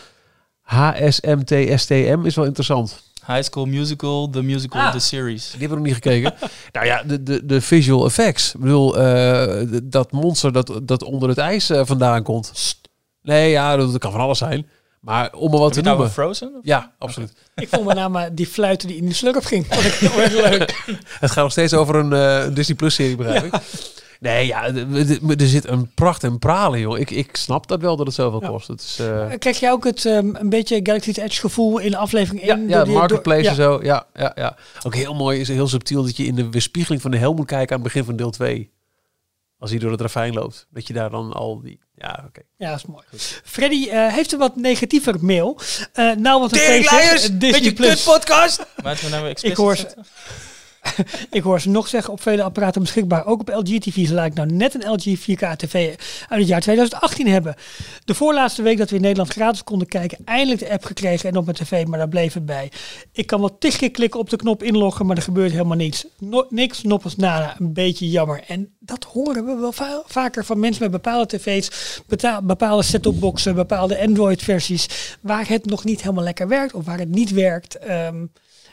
Speaker 2: HSMTSTM is wel interessant.
Speaker 4: eh, High School Musical, The Musical,
Speaker 3: Ah.
Speaker 4: The Series.
Speaker 2: Die hebben we nog niet gekeken. nou ja, de, de, de visual effects. Ik bedoel, eh, d- dat monster dat, dat onder het ijs eh, vandaan komt. Nee, ja, dat, dat kan van alles zijn. Maar om er wat
Speaker 4: Heb je
Speaker 2: te
Speaker 4: het nou
Speaker 2: noemen.
Speaker 4: over Frozen?
Speaker 2: Ja, absoluut.
Speaker 3: Ik vond met name die fluiten die in de slurp ging. Vond ik heel erg leuk.
Speaker 2: Het gaat nog steeds over een eh, een Disney Plus serie, begrijp ik. Nee, ja, d- d- d- er zit een pracht en pralen, joh. Ik, ik snap dat wel dat het zoveel
Speaker 3: Ja.
Speaker 2: kost. Het is, eh,
Speaker 3: Krijg jij ook het ehm, een beetje Galaxy's Edge gevoel in aflevering 1?
Speaker 2: ja, ja marketplace en zo. Ja, ja, ja. Ook heel mooi, is heel subtiel dat je in de weerspiegeling van de hel moet kijken aan het begin van deel 2. Als hij door het ravijn loopt. Dat je daar dan al die... Ja, oké.
Speaker 3: Ja, dat is mooi. Freddy eh, heeft een wat negatiever mail. Eh, nou, wat een feestje. Disney Plus.
Speaker 2: podcast.
Speaker 4: Maar het we nou
Speaker 3: Ik
Speaker 4: weer explicit
Speaker 3: hoor, ze,
Speaker 4: zetten?
Speaker 3: ik hoor ze nog zeggen op vele apparaten beschikbaar. Ook op LG TV's laat ik nou net een LG 4K TV uit het jaar 2018 hebben. De voorlaatste week dat we in Nederland gratis konden kijken, eindelijk de app gekregen en op mijn tv, maar daar bleef het bij. Ik kan wel tig keer klikken op de knop inloggen, maar er gebeurt helemaal niets. No- niks, noppels nada, een beetje jammer. En dat horen we wel va- vaker van mensen met bepaalde tv's, beta- bepaalde set-topboxen, bepaalde Android-versies, waar het nog niet helemaal lekker werkt of waar het niet werkt. Ehm,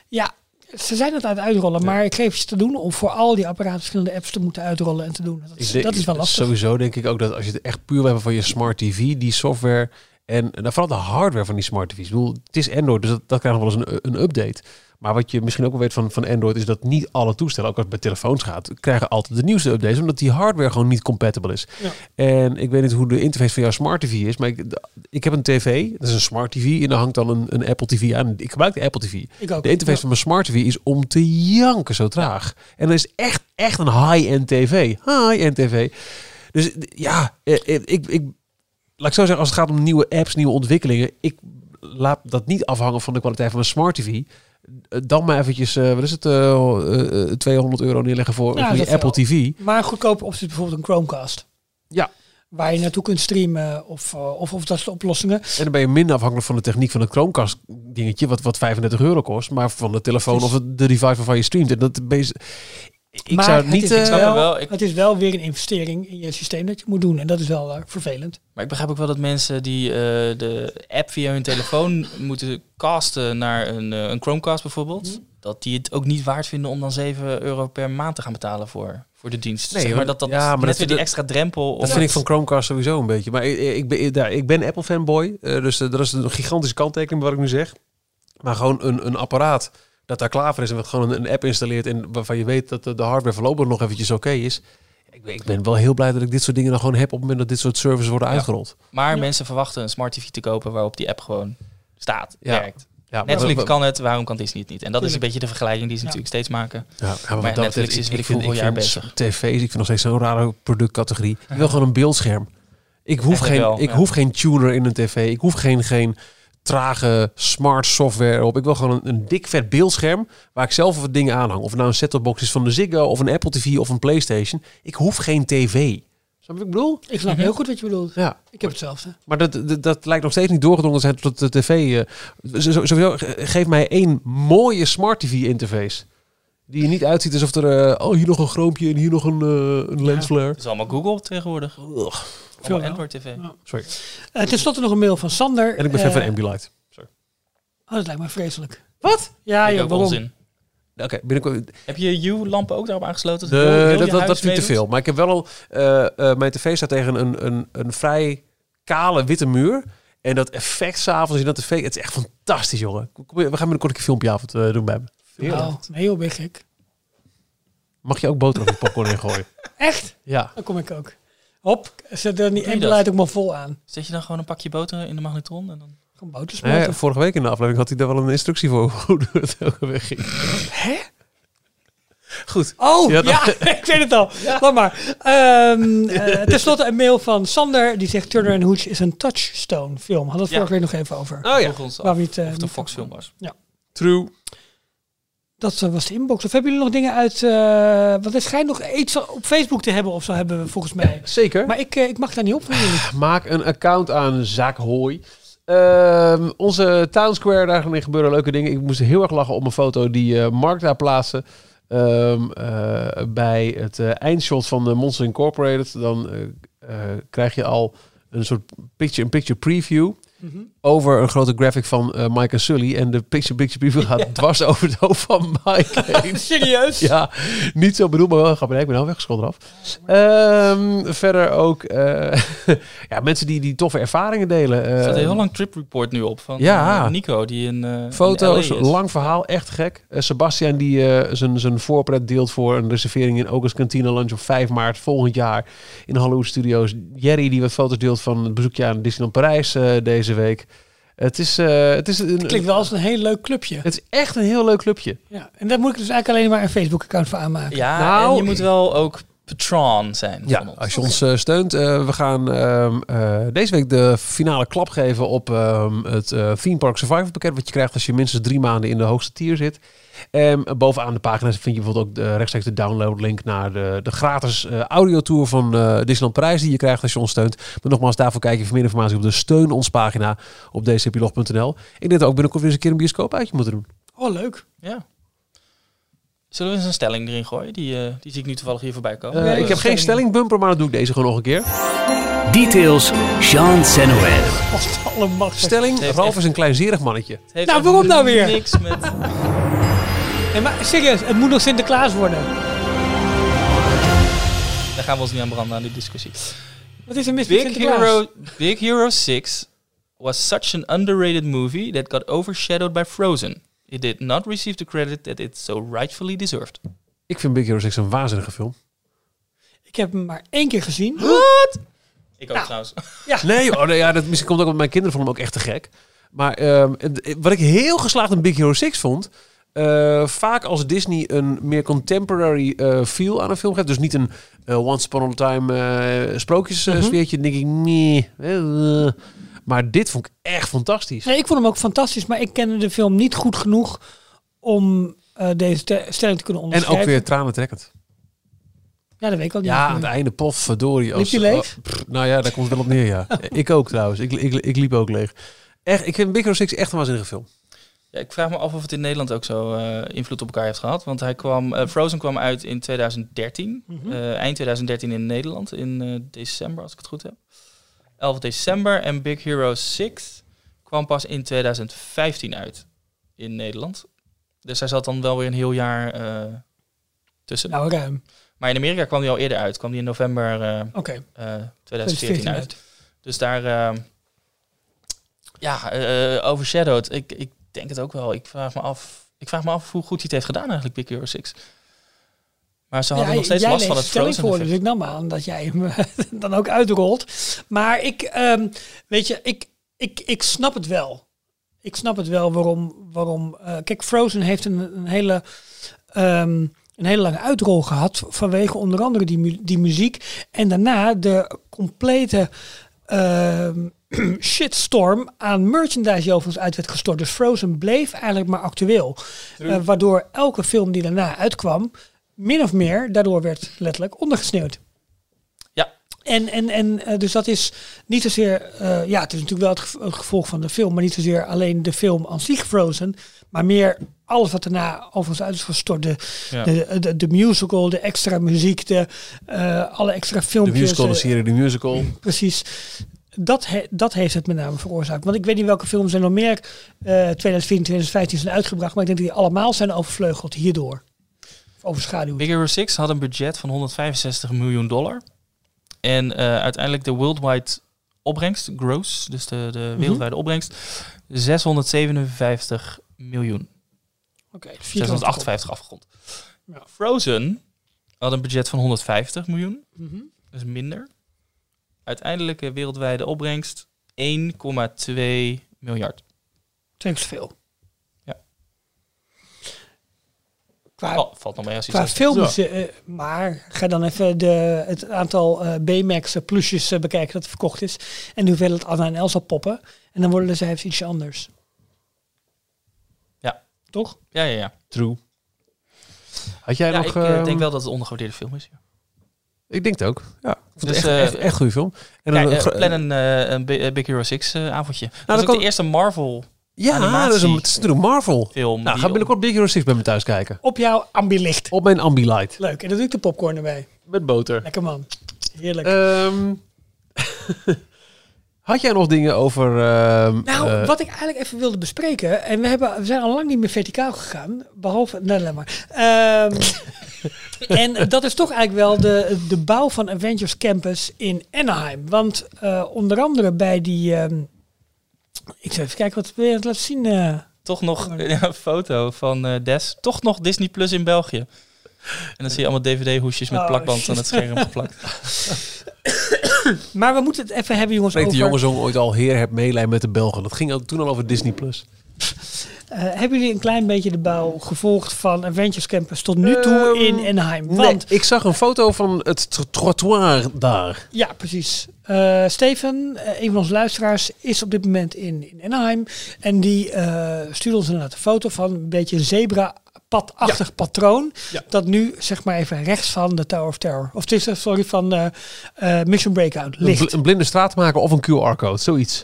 Speaker 3: ja, ze zijn het aan het uitrollen, maar ik geef ze te doen om voor al die apparaten verschillende apps te moeten uitrollen en te doen. Dat is,
Speaker 2: Ik denk-
Speaker 3: dat is wel lastig.
Speaker 2: Sowieso denk ik ook dat als je het echt puur wil hebben van je smart TV, die software en en vooral de hardware van die smart TV's. Ik bedoel, het is Android, dus dat, dat krijgt nog wel eens een, een update. Maar wat je misschien ook wel weet van, van Android is dat niet alle toestellen, ook als het bij telefoons gaat, krijgen altijd de nieuwste updates, omdat die hardware gewoon niet compatible is.
Speaker 3: Ja.
Speaker 2: En ik weet niet hoe de interface van jouw smart TV is, maar ik, d- ik heb een tv, dat is een smart TV, en daar hangt dan een, een Apple TV aan. Ik gebruik de Apple TV.
Speaker 3: Ik ook.
Speaker 2: De interface van mijn smart TV is om te janken zo traag. En dat is echt, echt een high-end tv. High-end tv. Dus d- ja, eh, eh, ik, ik, laat ik zo zeggen, als het gaat om nieuwe apps, nieuwe ontwikkelingen, ik laat dat niet afhangen van de kwaliteit van mijn smart TV. Eh, Dan maar eventjes, eh, wat is het, eh, eh, eh, 200 euro neerleggen voor,
Speaker 3: Ja,
Speaker 2: voor
Speaker 3: dat
Speaker 2: je
Speaker 3: wel.
Speaker 2: Apple TV.
Speaker 3: Maar een goedkope optie is bijvoorbeeld een Chromecast.
Speaker 2: Ja.
Speaker 3: Waar je naartoe kunt streamen of, eh, of, of dat soort oplossingen.
Speaker 2: En dan ben je minder afhankelijk van de techniek van het Chromecast dingetje, wat, wat 35 euro kost, maar van de telefoon of het- de device waarvan je streamt. En dat ben je- ik
Speaker 3: Maar
Speaker 2: zou het
Speaker 3: het
Speaker 2: niet...
Speaker 3: is-
Speaker 2: eh,
Speaker 3: ik
Speaker 4: snap het wel. Ik-
Speaker 3: Het is wel weer een investering in je systeem dat je moet doen. En dat is wel eh, vervelend.
Speaker 4: Maar ik begrijp ook wel dat mensen die eh, de app via hun telefoon moeten casten naar een, eh, een Chromecast bijvoorbeeld,
Speaker 3: Mhm.
Speaker 4: dat die het ook niet waard vinden om dan 7 euro per maand te gaan betalen voor, voor de dienst.
Speaker 2: Nee,
Speaker 4: zeg maar
Speaker 2: hoor.
Speaker 4: dat dat
Speaker 2: Ja, maar
Speaker 4: net
Speaker 2: dat
Speaker 4: weer
Speaker 2: vind
Speaker 4: die
Speaker 2: ik-
Speaker 4: extra drempel.
Speaker 2: Dat
Speaker 4: of-
Speaker 2: vind ik van Chromecast sowieso een beetje. Maar ik, ik ben, daar, ik ben Apple fanboy. eh, dus eh, dat is een gigantische kanttekening bij wat ik nu zeg. Maar gewoon een, een apparaat dat daar klaar voor is. En wat gewoon een, een app installeert. En waarvan je weet dat de, de hardware voorlopig nog eventjes oké is. Ik, ben- ik ben wel heel blij dat ik dit soort dingen dan gewoon heb. Op het moment dat dit soort services worden
Speaker 4: Ja.
Speaker 2: uitgerold.
Speaker 4: Maar mensen verwachten een smart TV te kopen waarop die app gewoon staat,
Speaker 2: Ja.
Speaker 4: werkt.
Speaker 2: Ja, maar
Speaker 4: Netflix
Speaker 2: wat-
Speaker 4: kan het, waarom kan Disney het niet? En dat is een
Speaker 3: Tuurlijk.
Speaker 4: beetje de vergelijking die ze
Speaker 3: Ja.
Speaker 4: natuurlijk steeds maken.
Speaker 2: Ja, ja, maar wat
Speaker 4: Maar
Speaker 2: dat
Speaker 4: Netflix
Speaker 2: betreft,
Speaker 4: is weet ik veel hoeveel jaar bezig.
Speaker 2: TV's, ik vind nog steeds zo'n rare productcategorie. Ik wil gewoon een beeldscherm. Ik hoef,
Speaker 4: Eigenlijk
Speaker 2: geen,
Speaker 4: wel,
Speaker 2: ik
Speaker 4: ja.
Speaker 2: hoef geen tuner in een tv. Ik hoef geen, geen trage smart software op. Ik wil gewoon een, een dik vet beeldscherm waar ik zelf wat dingen aan hang. Of het nou een set-top box is van de Ziggo of een Apple TV of een Playstation. Ik hoef geen tv. Snap je wat ik bedoel?
Speaker 3: Ik snap heel goed wat je bedoelt.
Speaker 2: Ja.
Speaker 3: Ik heb hetzelfde.
Speaker 2: Maar dat, dat, dat lijkt nog steeds niet doorgedrongen te zijn tot de tv. eh, zo- zo- sowieso, ge- geef mij één mooie smart tv interface. Die je niet uitziet alsof er... eh, oh, hier nog een chroompje en hier nog een, eh, een lens flare.
Speaker 4: Het is allemaal Google tegenwoordig.
Speaker 2: Ugh.
Speaker 3: Veel wel.
Speaker 4: Allemaal Android TV.
Speaker 2: Sorry.
Speaker 3: Eh Ten slotte nog een mail van Sander.
Speaker 2: En ik ben fan
Speaker 3: Eh,
Speaker 2: van Ambilight.
Speaker 3: Oh, dat lijkt me vreselijk.
Speaker 2: Wat?
Speaker 3: Ja,
Speaker 4: Vind ik
Speaker 3: joh,
Speaker 4: ook
Speaker 3: waarom?
Speaker 4: onzin.
Speaker 2: Oké, binnenkort...
Speaker 4: Heb je je U-lampen ook daarop aangesloten?
Speaker 2: De,
Speaker 4: Wil- wil je
Speaker 2: dat dat, dat
Speaker 4: huis
Speaker 2: vind ik te
Speaker 4: meedoen?
Speaker 2: veel. Maar ik heb wel al... eh, eh, mijn tv staat tegen een, een, een vrij kale witte muur. En dat effect s'avonds in dat tv... Het is echt fantastisch, jongen. Kom, we gaan binnenkort een keer filmpjeavond eh, doen bij me.
Speaker 3: Nou, nee, joh, ben je gek.
Speaker 2: Mag je ook boterham en popcorn in gooien?
Speaker 3: Echt?
Speaker 2: Ja.
Speaker 3: Dan kom ik ook. Hop, zet er die
Speaker 4: je
Speaker 3: Ambilight ook maar vol aan.
Speaker 4: Zet je dan gewoon een pakje boter in de magnetron? En dan...
Speaker 3: Gewoon boter
Speaker 2: Nou ja,
Speaker 3: smelten.
Speaker 2: vorige week in de aflevering had hij daar wel een instructie voor hoe het elke weg ging.
Speaker 3: Hè?
Speaker 2: Goed.
Speaker 3: Oh,
Speaker 2: Ja,
Speaker 3: ja,
Speaker 2: dat-
Speaker 3: ik weet het al. Laat maar. Ehm eh Ten slotte een mail van Sander. Die zegt Turner and Hooch is een touchstone film. Hadden we het
Speaker 4: Ja.
Speaker 3: vorige week nog even over.
Speaker 2: Oh ja.
Speaker 4: Vroeg ons af
Speaker 3: Waar we niet, eh,
Speaker 4: of het een
Speaker 3: niet
Speaker 4: Fox
Speaker 3: van-
Speaker 4: film was.
Speaker 2: True.
Speaker 3: Dat eh, was de inbox. Of hebben jullie nog dingen uit... eh want er schijnt nog iets op Facebook te hebben of zo hebben we volgens mij.
Speaker 2: Zeker.
Speaker 3: Maar ik, eh, ik mag daar niet op. van jullie.
Speaker 2: Maak een account aan Zaak Hooi. Ehm, onze Town Square, daarin gebeuren leuke dingen. Ik moest heel erg lachen om een foto die eh Mark daar plaatste. Ehm, eh, bij het eh, eindshot van eh, Monster Incorporated. Dan eh, eh, krijg je al een soort picture-in-picture preview. Over een grote graphic van eh, Mike en Sully. En de picture-in-picture preview gaat dwars over het hoofd van Mike heen.
Speaker 3: Serieus?
Speaker 2: Ja, niet zo bedoeld, maar wel grappig. Nee, ik ben al weggeschoten af. Ehm, verder ook eh, ja, mensen die, die toffe ervaringen delen.
Speaker 4: Er
Speaker 2: Eh,
Speaker 4: staat een heel lang trip report nu op van
Speaker 2: ja.
Speaker 4: eh, Nico die in eh,
Speaker 2: Foto's,
Speaker 4: in LA is.
Speaker 2: lang verhaal, echt gek. Eh, Sebastian die eh, zijn zijn voorpret deelt voor een reservering in August Cantina Lunch op 5 maart volgend jaar in Hollywood Studios. Jerry die wat foto's deelt van het bezoekje aan Disneyland Parijs eh, deze week. Het is, eh, het, is een,
Speaker 3: Klinkt wel als een heel leuk clubje.
Speaker 2: het is echt een heel leuk clubje.
Speaker 3: Ja. En daar moet ik dus eigenlijk alleen maar een Facebook-account voor aanmaken.
Speaker 4: Ja,
Speaker 2: Nou,
Speaker 4: en je moet wel ook patron zijn
Speaker 2: Ja,
Speaker 4: van ons.
Speaker 2: als je ons eh, steunt. eh, we gaan ehm, eh, deze week de finale klap geven op ehm, het eh Theme Park Survival pakket. Wat je krijgt als je minstens drie maanden in de hoogste tier zit. En bovenaan de pagina vind je bijvoorbeeld ook de, rechtstreeks de downloadlink naar de, de gratis eh audiotour van eh Disneyland Parijs die je krijgt als je ons steunt. Maar nogmaals, daarvoor kijk je voor meer informatie op de steun ons pagina op dcplog.nl. Ik denk dat we ook binnenkort weer eens een keer een bioscoop uitje moeten doen.
Speaker 3: Oh, leuk.
Speaker 4: Ja. Zullen we eens een stelling erin gooien? Die, eh, die zie ik nu toevallig hier voorbij komen.
Speaker 2: Eh,
Speaker 3: Ja,
Speaker 2: ik heb geen stelling bumper, maar dan doe ik deze gewoon nog een keer.
Speaker 1: Details, Jean Senoël.
Speaker 3: Als alle macht.
Speaker 2: Stelling,
Speaker 4: heeft
Speaker 2: Ralf
Speaker 4: echt-
Speaker 2: is een kleinzerig mannetje.
Speaker 4: Het heeft
Speaker 3: Nou,
Speaker 4: echt
Speaker 3: waarom nou weer?
Speaker 4: Niks met...
Speaker 3: Nee, maar serieus, het moet nog Sinterklaas worden.
Speaker 4: Daar gaan we ons niet aan branden aan die discussie.
Speaker 3: Wat is er mis met
Speaker 4: Big
Speaker 3: Sinterklaas?
Speaker 4: Hero, Big Hero 6 was such an underrated movie that got overshadowed by Frozen. It did not receive the credit that it so rightfully deserved.
Speaker 2: Ik vind Big Hero 6 een waanzinnige film.
Speaker 3: Ik heb hem maar één keer gezien.
Speaker 4: Ik
Speaker 3: Nou.
Speaker 4: ook trouwens.
Speaker 2: Nee, oh, nee ja, dat, misschien komt eh, het ook omdat mijn kinderen vonden hem ook echt te gek. Maar ehm, het- wat ik heel geslaagd in Big Hero 6 vond, eh, vaak als Disney een meer contemporary eh, feel aan een film geeft, dus niet een eh, once upon a time eh sprookjes
Speaker 3: Mhm.
Speaker 2: eh, sfeertje, dan denk ik, nee. eh, eh. maar dit vond ik echt fantastisch.
Speaker 3: Nee, ik vond hem ook fantastisch, maar ik kende de film niet goed genoeg om eh, deze te- stelling te kunnen
Speaker 2: en
Speaker 3: onderschrijven.
Speaker 2: ook weer tranentrekkend.
Speaker 3: Ja, dat weet ik al niet.
Speaker 2: Ja, aan het einde, pof, verdorie.
Speaker 3: Liep je leeg?
Speaker 2: oh, pff, nou ja, daar komt het wel op neer, ja. ik ook trouwens. Ik, ik, ik liep ook leeg. Echt, ik vind Big Hero 6 echt een waanzinnige film.
Speaker 4: Ja, ik vraag me af of het in Nederland ook zo eh, invloed op elkaar heeft gehad. Want hij kwam, eh, Frozen kwam uit in 2013.
Speaker 3: Mhm. Hm?
Speaker 4: eh, eind 2013 in Nederland. In eh, december, als ik het goed heb. 11 december. En Big Hero 6 kwam pas in 2015 uit in Nederland. Dus hij zat dan wel weer een heel jaar eh, tussen.
Speaker 3: Nou, ruim.
Speaker 4: Maar in Amerika kwam hij al eerder uit. Kwam hij in november eh, eh,
Speaker 3: Oké,
Speaker 4: 2014
Speaker 3: 2014
Speaker 4: uit.
Speaker 3: uit.
Speaker 4: Dus daar, eh, ja, eh, overshadowed. Ik, ik denk het ook wel. Ik vraag me af, ik vraag me af hoe goed hij het heeft gedaan eigenlijk, Big Hero 6. Maar ze hadden
Speaker 3: Ja,
Speaker 4: nog steeds
Speaker 3: jij
Speaker 4: last van
Speaker 3: leest
Speaker 4: het
Speaker 3: de stelling
Speaker 4: Frozen
Speaker 3: voor, dus
Speaker 4: effect.
Speaker 3: ik nam aan dat jij hem eh, dan ook uitrolt. Maar ik, ehm, weet je, ik, ik, ik snap het wel. Ik snap het wel waarom. waarom eh, kijk, Frozen heeft een, een hele. ehm, een hele lange uitrol gehad vanwege onder andere die, mu- die muziek. En daarna de complete ehm, shitstorm aan merchandise die overigens uit werd gestort. Dus Frozen bleef eigenlijk maar actueel. Eh, waardoor elke film die daarna uitkwam, min of meer daardoor werd letterlijk ondergesneeuwd.
Speaker 4: Ja,
Speaker 3: En, en, en eh, dus dat is niet zozeer, eh, ja, het is natuurlijk wel het gev- het gevolg van de film, maar niet zozeer alleen de film aan zich Frozen, maar meer alles wat daarna overigens uit is gestort. De,
Speaker 4: Ja.
Speaker 3: de, de, de musical, de extra muziek, de, eh, alle extra
Speaker 2: De
Speaker 3: filmpjes.
Speaker 2: musical, de
Speaker 3: eh,
Speaker 2: serie, de musical.
Speaker 3: precies. Dat, he- dat heeft het met name veroorzaakt. Want ik weet niet welke films er nog meer eh 2014, 2015 zijn uitgebracht, maar ik denk dat die allemaal zijn overvleugeld hierdoor. Of overschaduwd.
Speaker 4: Big Hero 6 had een budget van 165 miljoen dollar. En eh, uiteindelijk de worldwide opbrengst, gross, dus de, de
Speaker 2: Mhm.
Speaker 4: wereldwijde opbrengst, 657 miljoen.
Speaker 3: Oké,
Speaker 4: 658 afgerond.
Speaker 3: Ja.
Speaker 4: Frozen had een budget van 150 miljoen.
Speaker 3: Mhm.
Speaker 4: Dus minder. Uiteindelijke wereldwijde opbrengst 1,2 miljard.
Speaker 3: Twee keer zoveel.
Speaker 4: Ja.
Speaker 2: Ah,
Speaker 3: Qua,
Speaker 4: Oh, valt nog mee als je
Speaker 3: qua
Speaker 4: zegt.
Speaker 3: films, eh, maar ga dan even de, het aantal eh B-Max plusjes eh, bekijken dat verkocht is. En de hoeveelheid Anna en Elsa poppen. En dan worden de cijfers ietsje anders.
Speaker 4: Ja.
Speaker 3: Toch?
Speaker 4: Ja, ja, ja.
Speaker 2: True. Had jij
Speaker 4: ja
Speaker 2: nog...
Speaker 4: ik eh,
Speaker 2: ehm,
Speaker 4: denk wel dat het een ondergewaardeerde film is. Ja.
Speaker 2: Ik denk het ook. Ja. Ik vond het
Speaker 4: Dus,
Speaker 2: echt,
Speaker 4: eh,
Speaker 2: echt, echt goede film. En
Speaker 4: Kijk,
Speaker 2: dan,
Speaker 4: eh,
Speaker 2: gro-
Speaker 4: plan een, eh, een Bi- eh, Big Hero 6 eh, avondje. dat
Speaker 2: dan
Speaker 4: is ook
Speaker 2: kan-
Speaker 4: de eerste Marvel
Speaker 2: ja, dat is, een, het is natuurlijk Marvel.
Speaker 4: film.
Speaker 2: Nou,
Speaker 4: die
Speaker 2: ga binnenkort Big Hero 6 bij me thuis kijken.
Speaker 3: Op jouw ambilicht.
Speaker 2: Op mijn Ambilight.
Speaker 3: Leuk. En dan doe ik de popcorn erbij.
Speaker 2: Met boter.
Speaker 3: Lekker man. Heerlijk.
Speaker 2: Ehm, had jij nog dingen over... ehm,
Speaker 3: Nou,
Speaker 2: eh,
Speaker 3: wat ik eigenlijk even wilde bespreken. En we, hebben, we zijn al lang niet meer verticaal gegaan. Behalve. Nee, laat maar. Ehm, en dat is toch eigenlijk wel de, de bouw van Avengers Campus in Anaheim. Want eh, onder andere bij die. ehm, ik zal even kijken wat wil je het laten zien. eh?
Speaker 4: Toch nog een foto van eh, Des. Toch nog Disney Plus in België. En dan zie je allemaal DVD-hoesjes met
Speaker 3: Oh,
Speaker 4: plakband
Speaker 3: shit.
Speaker 4: aan het scherm geplakt.
Speaker 3: Maar we moeten het even hebben, jongens.
Speaker 2: Spreekt
Speaker 3: Over,
Speaker 2: de jongenzong ooit al Heer heb meelijn met de Belgen. Dat ging ook toen al over Disney+. Plus.
Speaker 3: eh, hebben jullie een klein beetje de bouw gevolgd van Avengers Campus tot nu toe
Speaker 2: Ehm,
Speaker 3: in Anaheim?
Speaker 2: Nee,
Speaker 3: Want
Speaker 2: ik zag een foto van het tr- trottoir daar.
Speaker 3: Ja, precies. Eh, Steven, eh, een van onze luisteraars, is op dit moment in, in Anaheim. En die eh stuurde ons inderdaad een foto van een beetje een zebra-padachtig patroon. Dat nu, zeg maar even, rechts van de Tower of Terror. Of het is, eh, sorry, van eh, eh, Mission Breakout
Speaker 2: Een,
Speaker 3: ligt.
Speaker 2: bl- een blinde straat maken of een QR-code, zoiets.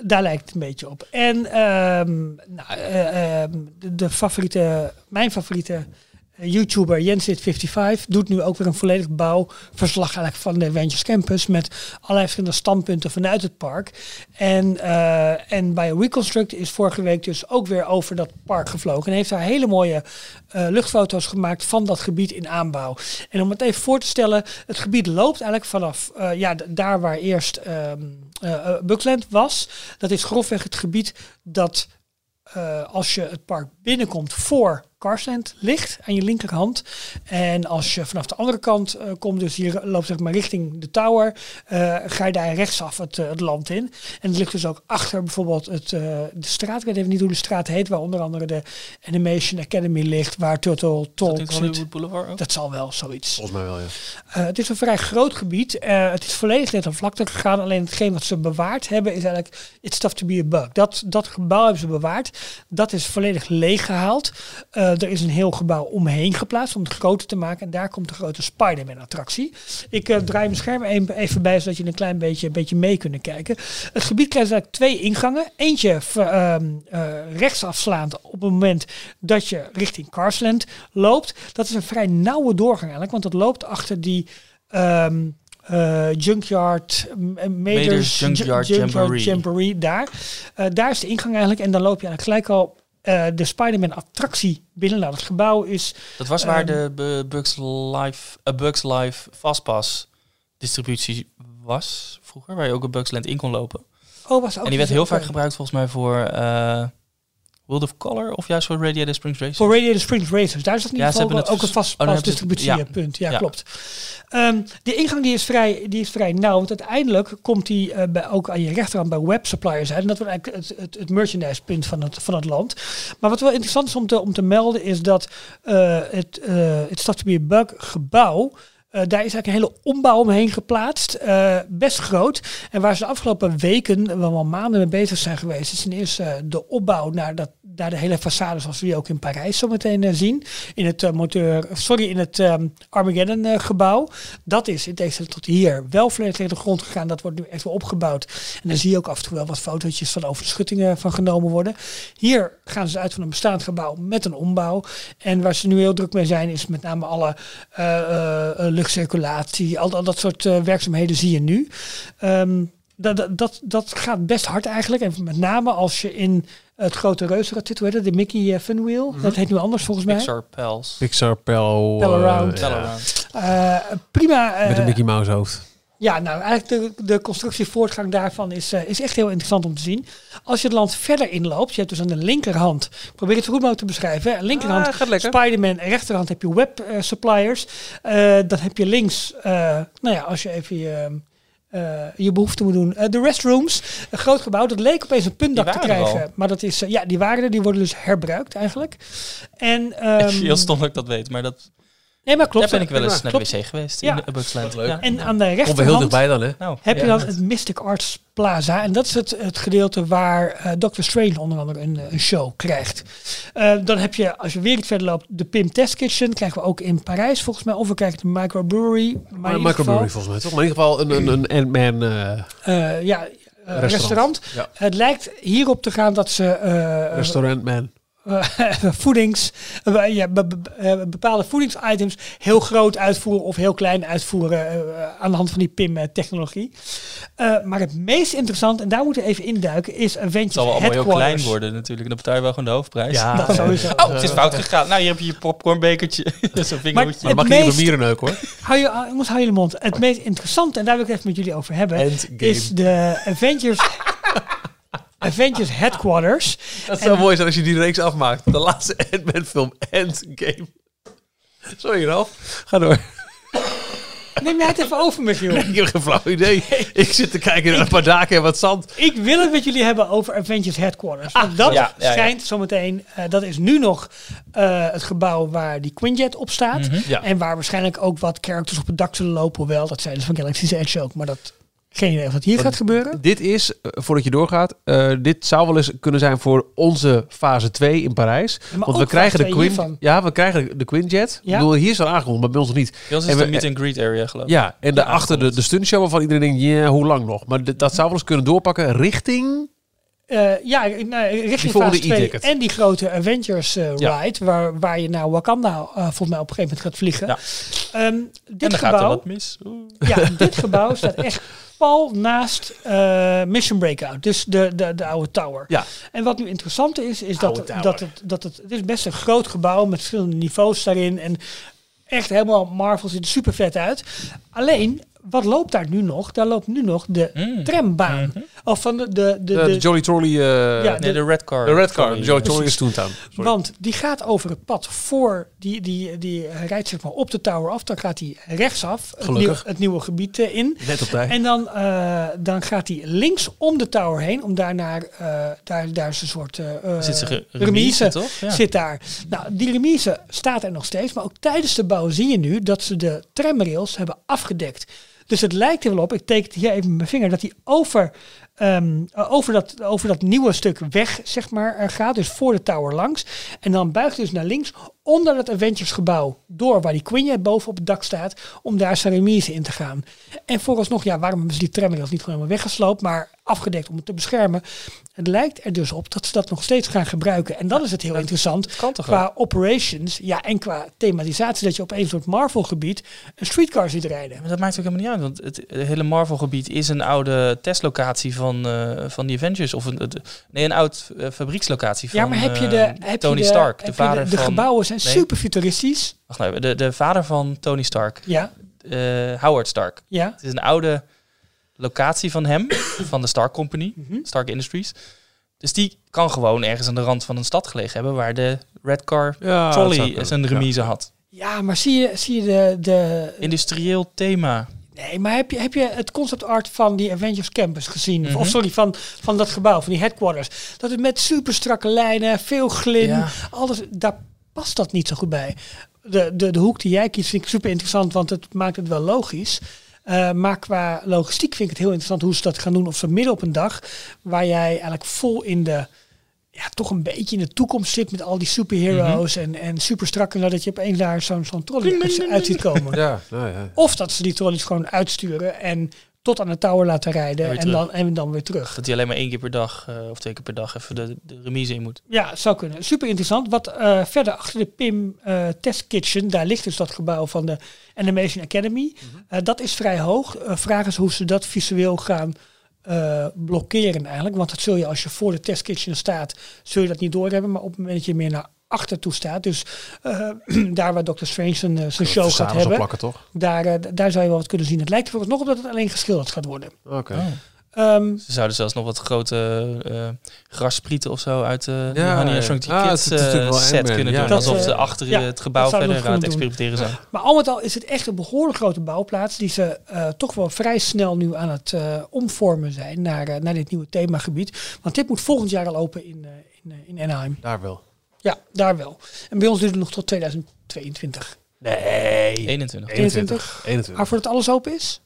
Speaker 3: Daar lijkt het een beetje op. En ehm, nou, eh, ehm, de, de favoriete, mijn favoriete eh, YouTuber Jensit55 doet nu ook weer een volledig bouwverslag eigenlijk van de Avengers Campus met allerlei verschillende standpunten vanuit het park. En, eh, en bij Reconstruct is vorige week dus ook weer over dat park gevlogen en heeft daar hele mooie eh, luchtfoto's gemaakt van dat gebied in aanbouw. En om het even voor te stellen, het gebied loopt eigenlijk vanaf eh, ja, d- daar waar eerst ehm eh, eh, Buckland was. Dat is grofweg het gebied dat eh, als je het park binnenkomt voor Carsland ligt aan je linkerhand. En als je vanaf de andere kant eh, komt, dus hier loopt zeg maar richting de tower, eh, ga je daar rechtsaf het, eh, het land in. En het ligt dus ook achter bijvoorbeeld het, eh, de straat, ik weet even niet hoe de straat heet, waar onder andere de Animation Academy ligt, waar Turtle
Speaker 4: Dat
Speaker 3: Talk
Speaker 4: is
Speaker 3: zit.
Speaker 4: Hollywood Boulevard ook.
Speaker 3: Dat zal wel zoiets.
Speaker 2: Volgens mij wel, ja.
Speaker 3: Eh, het is een vrij groot gebied. Eh, het is volledig net aan vlakte gegaan. Alleen hetgeen wat ze bewaard hebben is eigenlijk It's Tough to be a Bug. Dat, dat gebouw hebben ze bewaard. Dat is volledig leeggehaald. Eh, er is een heel gebouw omheen geplaatst om het groter te maken. En daar komt de grote Spider-Man attractie. Ik eh, draai mijn scherm even- even bij zodat je een klein beetje, een beetje mee kunt kijken. Het gebied krijgt eigenlijk twee ingangen. Eentje ver- ehm eh, rechtsafslaand op het moment dat je richting Carsland loopt. Dat is een vrij nauwe doorgang eigenlijk, want dat loopt achter die ehm, eh, Junkyard, eh, Maders,
Speaker 4: Junkyard
Speaker 3: Ju-
Speaker 4: Jamboree.
Speaker 3: daar. Eh, daar is de ingang eigenlijk en dan loop je eigenlijk gelijk al eh, de Spider-Man attractie binnen. Nou, dat gebouw is
Speaker 4: Dat was waar
Speaker 3: Ehm,
Speaker 4: de Bu- Bugs Life, eh, Bugs Life Fastpass distributie was vroeger, waar je ook op Bugsland in kon lopen.
Speaker 3: Oh, was ook
Speaker 4: en die werd heel vaak
Speaker 3: gebruikt.
Speaker 4: gebruikt volgens mij voor eh, World of Color of juist voor Radiator Springs Racing.
Speaker 3: Voor Radiator Springs Racers. Daar is dat in
Speaker 4: Ja,
Speaker 3: ieder
Speaker 4: ze
Speaker 3: geval
Speaker 4: hebben
Speaker 3: wel ook
Speaker 4: het
Speaker 3: een vast
Speaker 4: vers- oh, dan
Speaker 3: vast
Speaker 4: hebben ze het-
Speaker 3: distributiepunt. Ja,
Speaker 4: ja.
Speaker 3: klopt. Ehm, de ingang die is, vrij, die is vrij nauw. Want uiteindelijk komt die eh, bij, ook aan je rechterhand bij web suppliers uit. En dat wordt eigenlijk het, het, het merchandisepunt van het, van het land. Maar wat wel interessant is om te, om te melden is dat eh, het, eh het Stad Bug gebouw... eh, daar is eigenlijk een hele ombouw omheen geplaatst. eh, best groot. En waar ze de afgelopen weken, eh, wel maanden mee bezig zijn geweest, is ten eerste eh, de opbouw naar, dat, naar de hele façade zoals we die ook in Parijs zometeen eh, zien. In het eh, moteur, sorry, in het ehm, Armageddon eh, gebouw. Dat is in tegenstelling tot hier wel volledig tegen de grond gegaan. Dat wordt nu echt wel opgebouwd. En dan zie je ook af en toe wel wat fotootjes van over de schuttingen van genomen worden. Hier gaan ze dus uit van een bestaand gebouw met een ombouw. En waar ze nu heel druk mee zijn, is met name alle eh, eh, luchtcirculatie, al, al dat soort eh, werkzaamheden zie je nu. Ehm, dat, dat- dat, dat gaat best hard eigenlijk. En met name als je in het grote reuzenrad zit, hoe heet dat? de Mickey eh, Funwheel. Dat heet nu anders volgens mij.
Speaker 4: Pixar Pals.
Speaker 2: Pixar, Pel...
Speaker 3: Pel
Speaker 2: eh,
Speaker 3: Around.
Speaker 2: ja,
Speaker 4: Teleround.
Speaker 3: Eh, prima. eh,
Speaker 2: Met een Mickey Mouse hoofd.
Speaker 3: ja, nou eigenlijk de, de constructievoortgang daarvan is, eh, is echt heel interessant om te zien. Als je het land verder inloopt, je hebt dus aan de linkerhand, probeer het zo goed mogelijk te beschrijven. Aan de linkerhand
Speaker 2: Ah, gaat lekker.
Speaker 3: Spider-Man, en rechterhand heb je web eh, suppliers. Eh, dan heb je links, eh, nou ja, als je even je, eh, je behoefte moet doen, eh, de restrooms. Een groot gebouw, dat leek opeens een puntdak te
Speaker 4: Die waren er
Speaker 3: krijgen.
Speaker 4: al.
Speaker 3: Maar dat is, eh, ja, die waren er, die worden dus herbruikt eigenlijk. En, ehm,
Speaker 4: Heel stom dat ik dat weet, maar dat,
Speaker 3: Nee, maar klopt. eh,
Speaker 4: daar ben ik wel eens naar de
Speaker 3: Klopt.
Speaker 4: wc geweest
Speaker 3: Ja.
Speaker 4: in de Bugsland.
Speaker 2: Wat leuk.
Speaker 4: Ja.
Speaker 3: En aan de rechterhand...
Speaker 2: Komt wel heel dichtbij dan, hè?
Speaker 4: Nou,
Speaker 3: heb je
Speaker 4: ja.
Speaker 3: dan het Mystic Arts Plaza. En dat is het, het gedeelte waar eh Doctor Strange onder andere een, eh, een show krijgt. Eh, dan heb je, als je weer iets verder loopt, de Pim Test Kitchen. Krijgen we ook in Parijs volgens mij. Of we krijgen de Microbrewery. Maar in ieder
Speaker 2: Maar
Speaker 3: geval,
Speaker 2: microbrewery volgens mij, toch? Maar in ieder geval een, een, een Ant-Man... eh,
Speaker 3: eh, ja, eh, restaurant.
Speaker 2: Ja.
Speaker 3: Het lijkt hierop te gaan dat ze eh,
Speaker 2: Restaurant Man.
Speaker 3: eh, voedings, eh, ja, be- be- eh, bepaalde voedingsitems heel groot uitvoeren of heel klein uitvoeren eh, aan de hand van die PIM-technologie. Eh, maar het meest interessant, en daar moeten we even induiken, is Avengers
Speaker 4: het zal wel allemaal heel
Speaker 3: Headquarters.
Speaker 4: klein worden natuurlijk. En dan betaal je wel gewoon de hoofdprijs.
Speaker 3: Dat sowieso.
Speaker 4: Oh, het is fout gegaan. Nou, hier heb je je popcornbekertje. Zo'n vingerhoedje.
Speaker 2: Maar dan mag
Speaker 3: Het
Speaker 2: je niet op een
Speaker 3: meest-
Speaker 2: mierenneuk, hoor.
Speaker 3: Hou je, hou- jongens, hou je mond. Het meest interessante, en daar wil ik het even met jullie over hebben,
Speaker 2: Endgame.
Speaker 3: is de Avengers, Avengers Headquarters.
Speaker 2: Dat zou mooi zijn als je die reeks afmaakt. De laatste Ant-Man film, Endgame. Sorry Ralf, ga door.
Speaker 3: Neem jij het even over, Michiel.
Speaker 2: Ik heb geen flauw idee. Ik zit te kijken naar een paar daken en wat zand.
Speaker 3: Ik wil het met jullie hebben over Avengers Headquarters. Want dat
Speaker 4: Ah, ja, ja, ja.
Speaker 3: schijnt zometeen, eh, dat is nu nog eh, het gebouw waar die Quinjet op staat.
Speaker 4: Mhm.
Speaker 2: Ja.
Speaker 3: En waar waarschijnlijk ook wat characters op het dak zullen lopen. Hoewel, dat zijn dus van Galaxy's Edge ook. Maar dat, geen idee of dat hier gaat gebeuren.
Speaker 2: Dit is, eh, voordat je doorgaat, eh, dit zou wel eens kunnen zijn voor onze fase 2 in Parijs.
Speaker 3: maar
Speaker 2: Want we
Speaker 3: ook
Speaker 2: krijgen, de
Speaker 3: fase twee
Speaker 2: Quin,
Speaker 3: hiervan.
Speaker 2: ja, we krijgen de Quinjet.
Speaker 3: Ja.
Speaker 2: Ik bedoel, hier is al aangekondigd, maar bij ons nog niet.
Speaker 4: Bij ons is
Speaker 2: En
Speaker 4: het
Speaker 2: we-
Speaker 4: een meet-and-greet area, geloof ik.
Speaker 2: Ja, en daarachter de, de stuntshow waarvan iedereen denkt, ja, hoe lang nog? Maar dit- dat zou wel eens kunnen doorpakken richting...
Speaker 3: Eh, ja, nou, richting
Speaker 2: volgende
Speaker 3: fase 2
Speaker 2: e-ticket.
Speaker 3: en die grote Avengers eh,
Speaker 2: Ja.
Speaker 3: ride. Waar, waar je naar Wakanda eh, volgens mij op een gegeven moment gaat vliegen.
Speaker 4: Ja.
Speaker 3: Ehm,
Speaker 4: En
Speaker 3: dit
Speaker 4: dan
Speaker 3: gebouw,
Speaker 4: gaat er wat mis. Oeh.
Speaker 3: Ja, dit gebouw staat echt pal naast eh, Mission Breakout. Dus de, de, de oude tower.
Speaker 2: Ja,
Speaker 3: En wat nu interessant is, is
Speaker 2: Oude
Speaker 3: dat,
Speaker 2: tower.
Speaker 3: dat, het, dat het, het is best een groot gebouw met verschillende niveaus daarin. En echt helemaal Marvel ziet er super vet uit. Alleen, wat loopt daar nu nog? Daar loopt nu nog de
Speaker 2: Mhm.
Speaker 4: Mm.
Speaker 3: trambaan. Of van de... de,
Speaker 2: De,
Speaker 3: de, de-
Speaker 2: de Jolly Trolley... eh,
Speaker 3: Ja,
Speaker 4: Nee, de, Red Car.
Speaker 2: de Red Car.
Speaker 4: Sorry. Dus
Speaker 2: De Jolly Trolley
Speaker 3: Precies.
Speaker 2: is Toontown. Sorry.
Speaker 3: want die gaat over het pad voor... Die, die, die hij rijdt zeg maar op de tower af. Dan gaat hij rechtsaf het,
Speaker 2: Gelukkig.
Speaker 3: nieuw- het nieuwe gebied eh, in.
Speaker 2: Net op tijd.
Speaker 3: En dan, eh, dan gaat hij links om de tower heen. Om daarnaar... eh, daar, daar is een soort... eh,
Speaker 4: Zit ze
Speaker 3: eh,
Speaker 4: ge- remise, toch? Ja.
Speaker 3: Zit daar. Nou, die remise staat er nog steeds. Maar ook tijdens de bouw zie je nu dat ze de tramrails hebben afgedekt. Dus het lijkt er wel op, ik teken hier even met mijn vinger, dat die over, ehm, eh, over, dat, over dat nieuwe stuk weg zeg maar, eh, gaat. Dus voor de tower langs. En dan buigt hij dus naar links onder het Avengers gebouw door waar die Quinjet boven op het dak staat. Om daar zijn remise in te gaan. En vooralsnog, ja, waarom hebben ze die tramrails niet gewoon helemaal weggesloopt, maar afgedekt om het te beschermen? Het lijkt er dus op dat ze dat nog steeds gaan gebruiken. En dan is het heel interessant.
Speaker 4: kan toch
Speaker 3: qua operations, ja, en qua thematisatie, dat je op een soort Marvel-gebied een streetcar ziet rijden.
Speaker 4: Maar dat maakt ook helemaal niet uit, want het, het hele Marvel-gebied is een oude testlocatie van, eh van die Avengers. Of een, het- nee, een oud eh, fabriekslocatie van
Speaker 3: ja, maar heb je de,
Speaker 4: eh,
Speaker 3: heb je
Speaker 4: Tony
Speaker 3: de-
Speaker 4: Stark,
Speaker 3: heb
Speaker 4: de
Speaker 3: je
Speaker 4: vader
Speaker 3: de, de
Speaker 4: van...
Speaker 3: gebouwen zijn
Speaker 4: nee.
Speaker 3: super futuristisch.
Speaker 4: Wacht nou even, de, de vader van Tony Stark,
Speaker 3: Ja,
Speaker 4: eh, Howard Stark.
Speaker 3: ja.
Speaker 4: Het is een oude locatie van hem, van de Stark Company,
Speaker 2: Mhm.
Speaker 4: Stark Industries. Dus die kan gewoon ergens aan de rand van een stad gelegen hebben waar de Red Car
Speaker 2: Ja, dat zou
Speaker 4: Trolley
Speaker 2: kunnen.
Speaker 4: zijn remise had.
Speaker 3: Ja, maar zie je, zie je de, de...
Speaker 4: Industrieel thema.
Speaker 3: Nee, maar heb je, heb je het concept art van die Avengers Campus gezien? Of-
Speaker 4: Mhm.
Speaker 3: Of sorry, van, van dat gebouw, van die headquarters. Dat het met super strakke lijnen, veel glim,
Speaker 4: Ja.
Speaker 3: alles, daar past dat niet zo goed bij. De, de, de hoek die jij kiest vind ik super interessant, want het maakt het wel logisch. Eh, maar qua logistiek vind ik het heel interessant hoe ze dat gaan doen. Of ze midden op een dag, waar jij eigenlijk vol in de... Ja, toch een beetje in de toekomst zit met al die superheroes
Speaker 4: Mhm.
Speaker 3: en, en super strak. En dat je opeens daar zo'n zo'n trolley uit, uit ziet komen.
Speaker 2: Ja, nou ja.
Speaker 3: Of dat ze die trolleys gewoon uitsturen en tot aan de tower laten rijden
Speaker 4: En weer
Speaker 3: en dan, en dan weer terug.
Speaker 4: Dat hij alleen maar één keer per dag eh, of twee keer per dag even de, de remise in moet.
Speaker 3: Ja, zou kunnen. Super interessant. Wat eh, verder achter de Pim eh, Test Kitchen, daar ligt dus dat gebouw van de Animation Academy. Eh, dat is vrij hoog. Eh, vraag is hoe ze dat visueel gaan eh, blokkeren eigenlijk. Want dat zul je als je voor de Test Kitchen staat, zul je dat niet doorhebben. Maar op het moment dat je meer naar achter toe staat, dus eh, daar waar Doctor Strange zijn, eh, zijn show gaat
Speaker 2: Samen zo
Speaker 3: hebben,
Speaker 2: plakken, toch?
Speaker 3: daar, eh, d- daar zou je wel wat kunnen zien. Het lijkt er volgens nog op dat het alleen geschilderd gaat worden.
Speaker 2: Oké.
Speaker 3: Ehm,
Speaker 4: Ze zouden zelfs nog wat grote eh grassprieten of zo uit eh, de
Speaker 2: Ja,
Speaker 4: Honey I Shrunk
Speaker 2: ah,
Speaker 4: the
Speaker 2: het
Speaker 4: Kids
Speaker 2: is natuurlijk
Speaker 4: eh,
Speaker 2: wel
Speaker 4: set
Speaker 2: Ant-Man,
Speaker 4: kunnen
Speaker 2: ja.
Speaker 4: doen.
Speaker 3: Dat,
Speaker 4: alsof
Speaker 3: eh,
Speaker 4: ze achter
Speaker 3: ja,
Speaker 4: het gebouw
Speaker 3: dat zouden
Speaker 4: verder
Speaker 3: we
Speaker 4: aan het
Speaker 3: kunnen
Speaker 4: experimenteren zijn.
Speaker 3: Maar al met al is het echt een behoorlijk grote bouwplaats die ze eh, toch wel vrij snel nu aan het eh, omvormen zijn naar, eh, naar dit nieuwe themagebied. Want dit moet volgend jaar al open in, eh, in, eh, in Anaheim.
Speaker 2: Daar wel.
Speaker 3: Ja, daar wel. En bij ons duurt het nog tot 2022.
Speaker 2: Nee.
Speaker 4: 21.
Speaker 3: 21.
Speaker 2: 21.
Speaker 3: Maar voordat alles open is?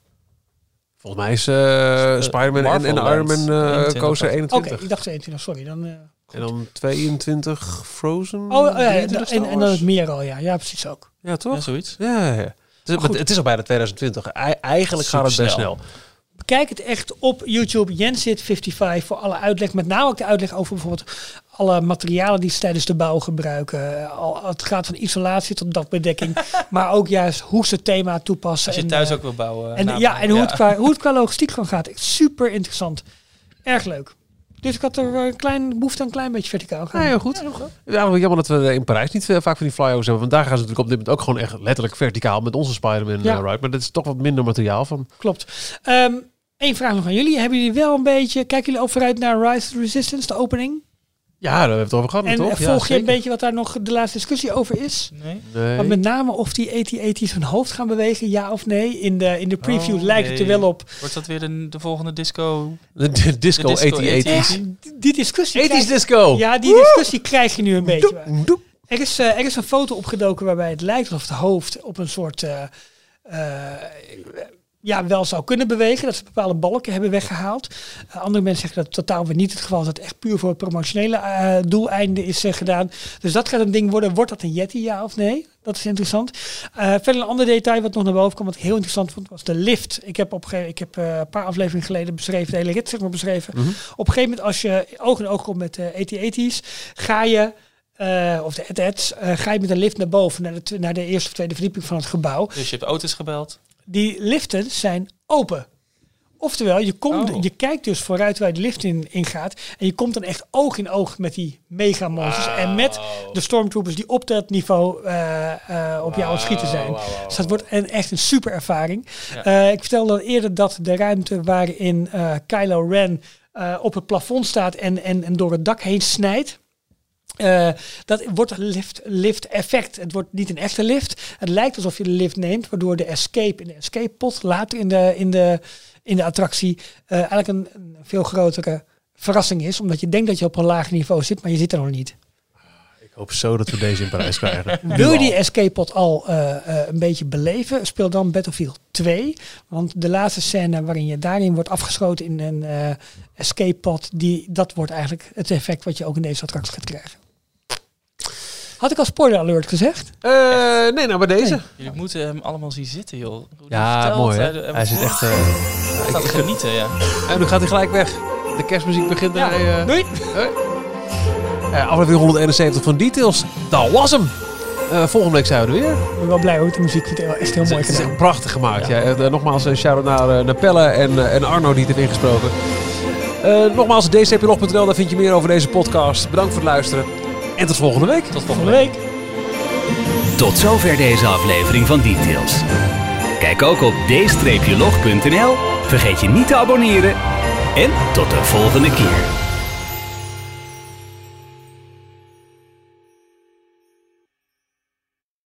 Speaker 2: Volgens mij is eh Spider-Man en, en
Speaker 4: Marvel
Speaker 2: Iron Man
Speaker 4: Land.
Speaker 2: eh,
Speaker 4: 21
Speaker 2: kozen
Speaker 4: of-
Speaker 3: Oké,
Speaker 2: 21.
Speaker 3: ik dacht 21, sorry. Dan, eh,
Speaker 2: En dan 22 Frozen.
Speaker 3: oh, oh ja, en,
Speaker 2: 23 Star
Speaker 3: en, en dan
Speaker 2: Wars.
Speaker 3: het meer al, ja. Ja, precies ook.
Speaker 2: Ja,
Speaker 4: Ja,
Speaker 2: toch?
Speaker 4: zoiets.
Speaker 2: Ja, ja, ja. Het is,
Speaker 3: Goed.
Speaker 2: het is al bijna 2020. Ei- Eigenlijk gaat het best snel.
Speaker 4: Supersnel.
Speaker 3: Bekijk het echt op YouTube, Jensit55, voor alle uitleg. Met name ook de uitleg over bijvoorbeeld alle materialen die ze tijdens de bouw gebruiken. Eh, Al, het gaat van isolatie tot dakbedekking. maar ook juist hoe ze het thema toepassen.
Speaker 4: Als je
Speaker 3: en,
Speaker 4: thuis
Speaker 3: eh,
Speaker 4: ook wil bouwen. nou,
Speaker 3: En, ja, en hoe, Het qua, hoe het qua logistiek gewoon gaat. Echt super interessant. Erg leuk. Dus ik had er eh, een klein, behoefte aan een klein beetje verticaal gaan.
Speaker 2: Ah, Ja, heel goed. Ja, maar jammer dat we in Parijs niet eh, vaak van die flyovers hebben. Want daar gaan ze natuurlijk op dit moment ook gewoon echt letterlijk verticaal met onze Spider-Man
Speaker 3: Ja.
Speaker 2: eh, ride. Maar dat is toch wat minder materiaal van.
Speaker 3: Klopt. Eén vraag nog aan jullie. Hebben jullie wel een beetje... Kijken jullie ook vooruit naar Rise of the Resistance, de opening?
Speaker 2: Ja, daar hebben we het over gehad,
Speaker 3: en
Speaker 2: toch?
Speaker 3: eh,
Speaker 2: Oh, Ja,
Speaker 3: volg je een
Speaker 2: zeker.
Speaker 3: beetje wat daar nog de laatste discussie over is?
Speaker 4: Nee.
Speaker 2: Nee.
Speaker 3: Maar met name of die E AT-AT's hun hoofd gaan bewegen, ja of nee. In de, in de preview
Speaker 4: Oh,
Speaker 3: lijkt het er
Speaker 4: nee.
Speaker 3: wel op.
Speaker 4: Wordt dat weer de, de volgende disco?
Speaker 2: De, de disco
Speaker 4: De disco
Speaker 2: 80
Speaker 4: 80s.
Speaker 2: s
Speaker 3: Echt, die discussie.
Speaker 2: 80s
Speaker 3: krijg-
Speaker 2: disco!
Speaker 3: ja, die discussie krijg je nu een beetje.
Speaker 2: Doep, doep.
Speaker 3: Er is, eh, er is een foto opgedoken waarbij het lijkt alsof het hoofd op een soort. eh, eh, ja, wel zou kunnen bewegen. Dat ze bepaalde balken hebben weggehaald. Eh, andere mensen zeggen dat totaal weer niet het geval is. Dat echt puur voor het promotionele eh, doeleinde is eh, gedaan. Dus dat gaat een ding worden. Wordt dat een Yeti, ja of nee? Dat is interessant. Eh, verder een ander detail wat nog naar boven kwam, wat ik heel interessant vond, was de lift. Ik heb, op een gegeven- ik heb eh, een paar afleveringen geleden beschreven, de hele rit zeg maar beschreven. Op een gegeven moment, als je oog in oog komt met eh, E de AT-AT's, ga je, eh, of de AT-AT's, eh, ga je met een lift naar boven, naar de, tw- naar de eerste of tweede verdieping van het gebouw
Speaker 4: Dus je hebt auto's gebeld.
Speaker 3: die liften zijn open. Oftewel, je, komt,
Speaker 4: Oh.
Speaker 3: je kijkt dus vooruit waar de lift in, in gaat. En je komt dan echt oog in oog met die megamonsters. En met de stormtroopers die op dat niveau eh, eh, op jou aan het schieten zijn. Dus dat wordt een, echt een super ervaring.
Speaker 4: Ja.
Speaker 3: Eh, ik vertelde al eerder dat de ruimte waarin eh, Kylo Ren eh, op het plafond staat en, en, en door het dak heen snijdt. Eh, dat wordt lift, lift effect. Het wordt niet een echte lift. Het lijkt alsof je de lift neemt, waardoor de escape in de escape pot later in de, in de, in de attractie eh, eigenlijk een, een veel grotere verrassing is. Omdat je denkt dat je op een laag niveau zit, maar je zit er nog niet.
Speaker 2: Ik hoop zo dat we deze in Parijs krijgen.
Speaker 3: Wil je die escape pod al eh, eh, een beetje beleven, speel dan Battlefield 2. Want de laatste scène waarin je daarin wordt afgeschoten in een eh, escape pod, die, dat wordt eigenlijk het effect wat je ook in deze attractie gaat krijgen. Had ik al spoiler alert gezegd?
Speaker 2: Eh, nee, nou bij deze.
Speaker 4: Jullie moeten hem allemaal zien zitten, joh. Hoe die
Speaker 2: Ja,
Speaker 4: vertelt,
Speaker 2: mooi, hè?
Speaker 4: de-
Speaker 2: Hij zit echt, eh,
Speaker 4: Hij staat te genieten, ja.
Speaker 2: En nu gaat hij gelijk weg. De kerstmuziek begint daar. eh,
Speaker 3: Doei!
Speaker 2: eh, aflevering 171 van Details. Dat was hem. Eh, volgende week zijn we er weer.
Speaker 3: Ik ben wel blij hoor, de muziek vindt het echt heel mooi
Speaker 2: Het is
Speaker 3: gedaan.
Speaker 2: echt prachtig gemaakt. Ja. Eh, nogmaals, een shout-out naar, eh, naar Pelle en, eh, en Arno die het heeft ingesproken. Eh, nogmaals, dcplog.nl, daar vind je meer over deze podcast. Bedankt voor het luisteren. En tot volgende week.
Speaker 4: Tot volgende
Speaker 3: Volgende
Speaker 4: week.
Speaker 3: week.
Speaker 1: Tot zover deze aflevering van Details. Kijk ook op d-log.nl. Vergeet je niet te abonneren. En tot de volgende keer.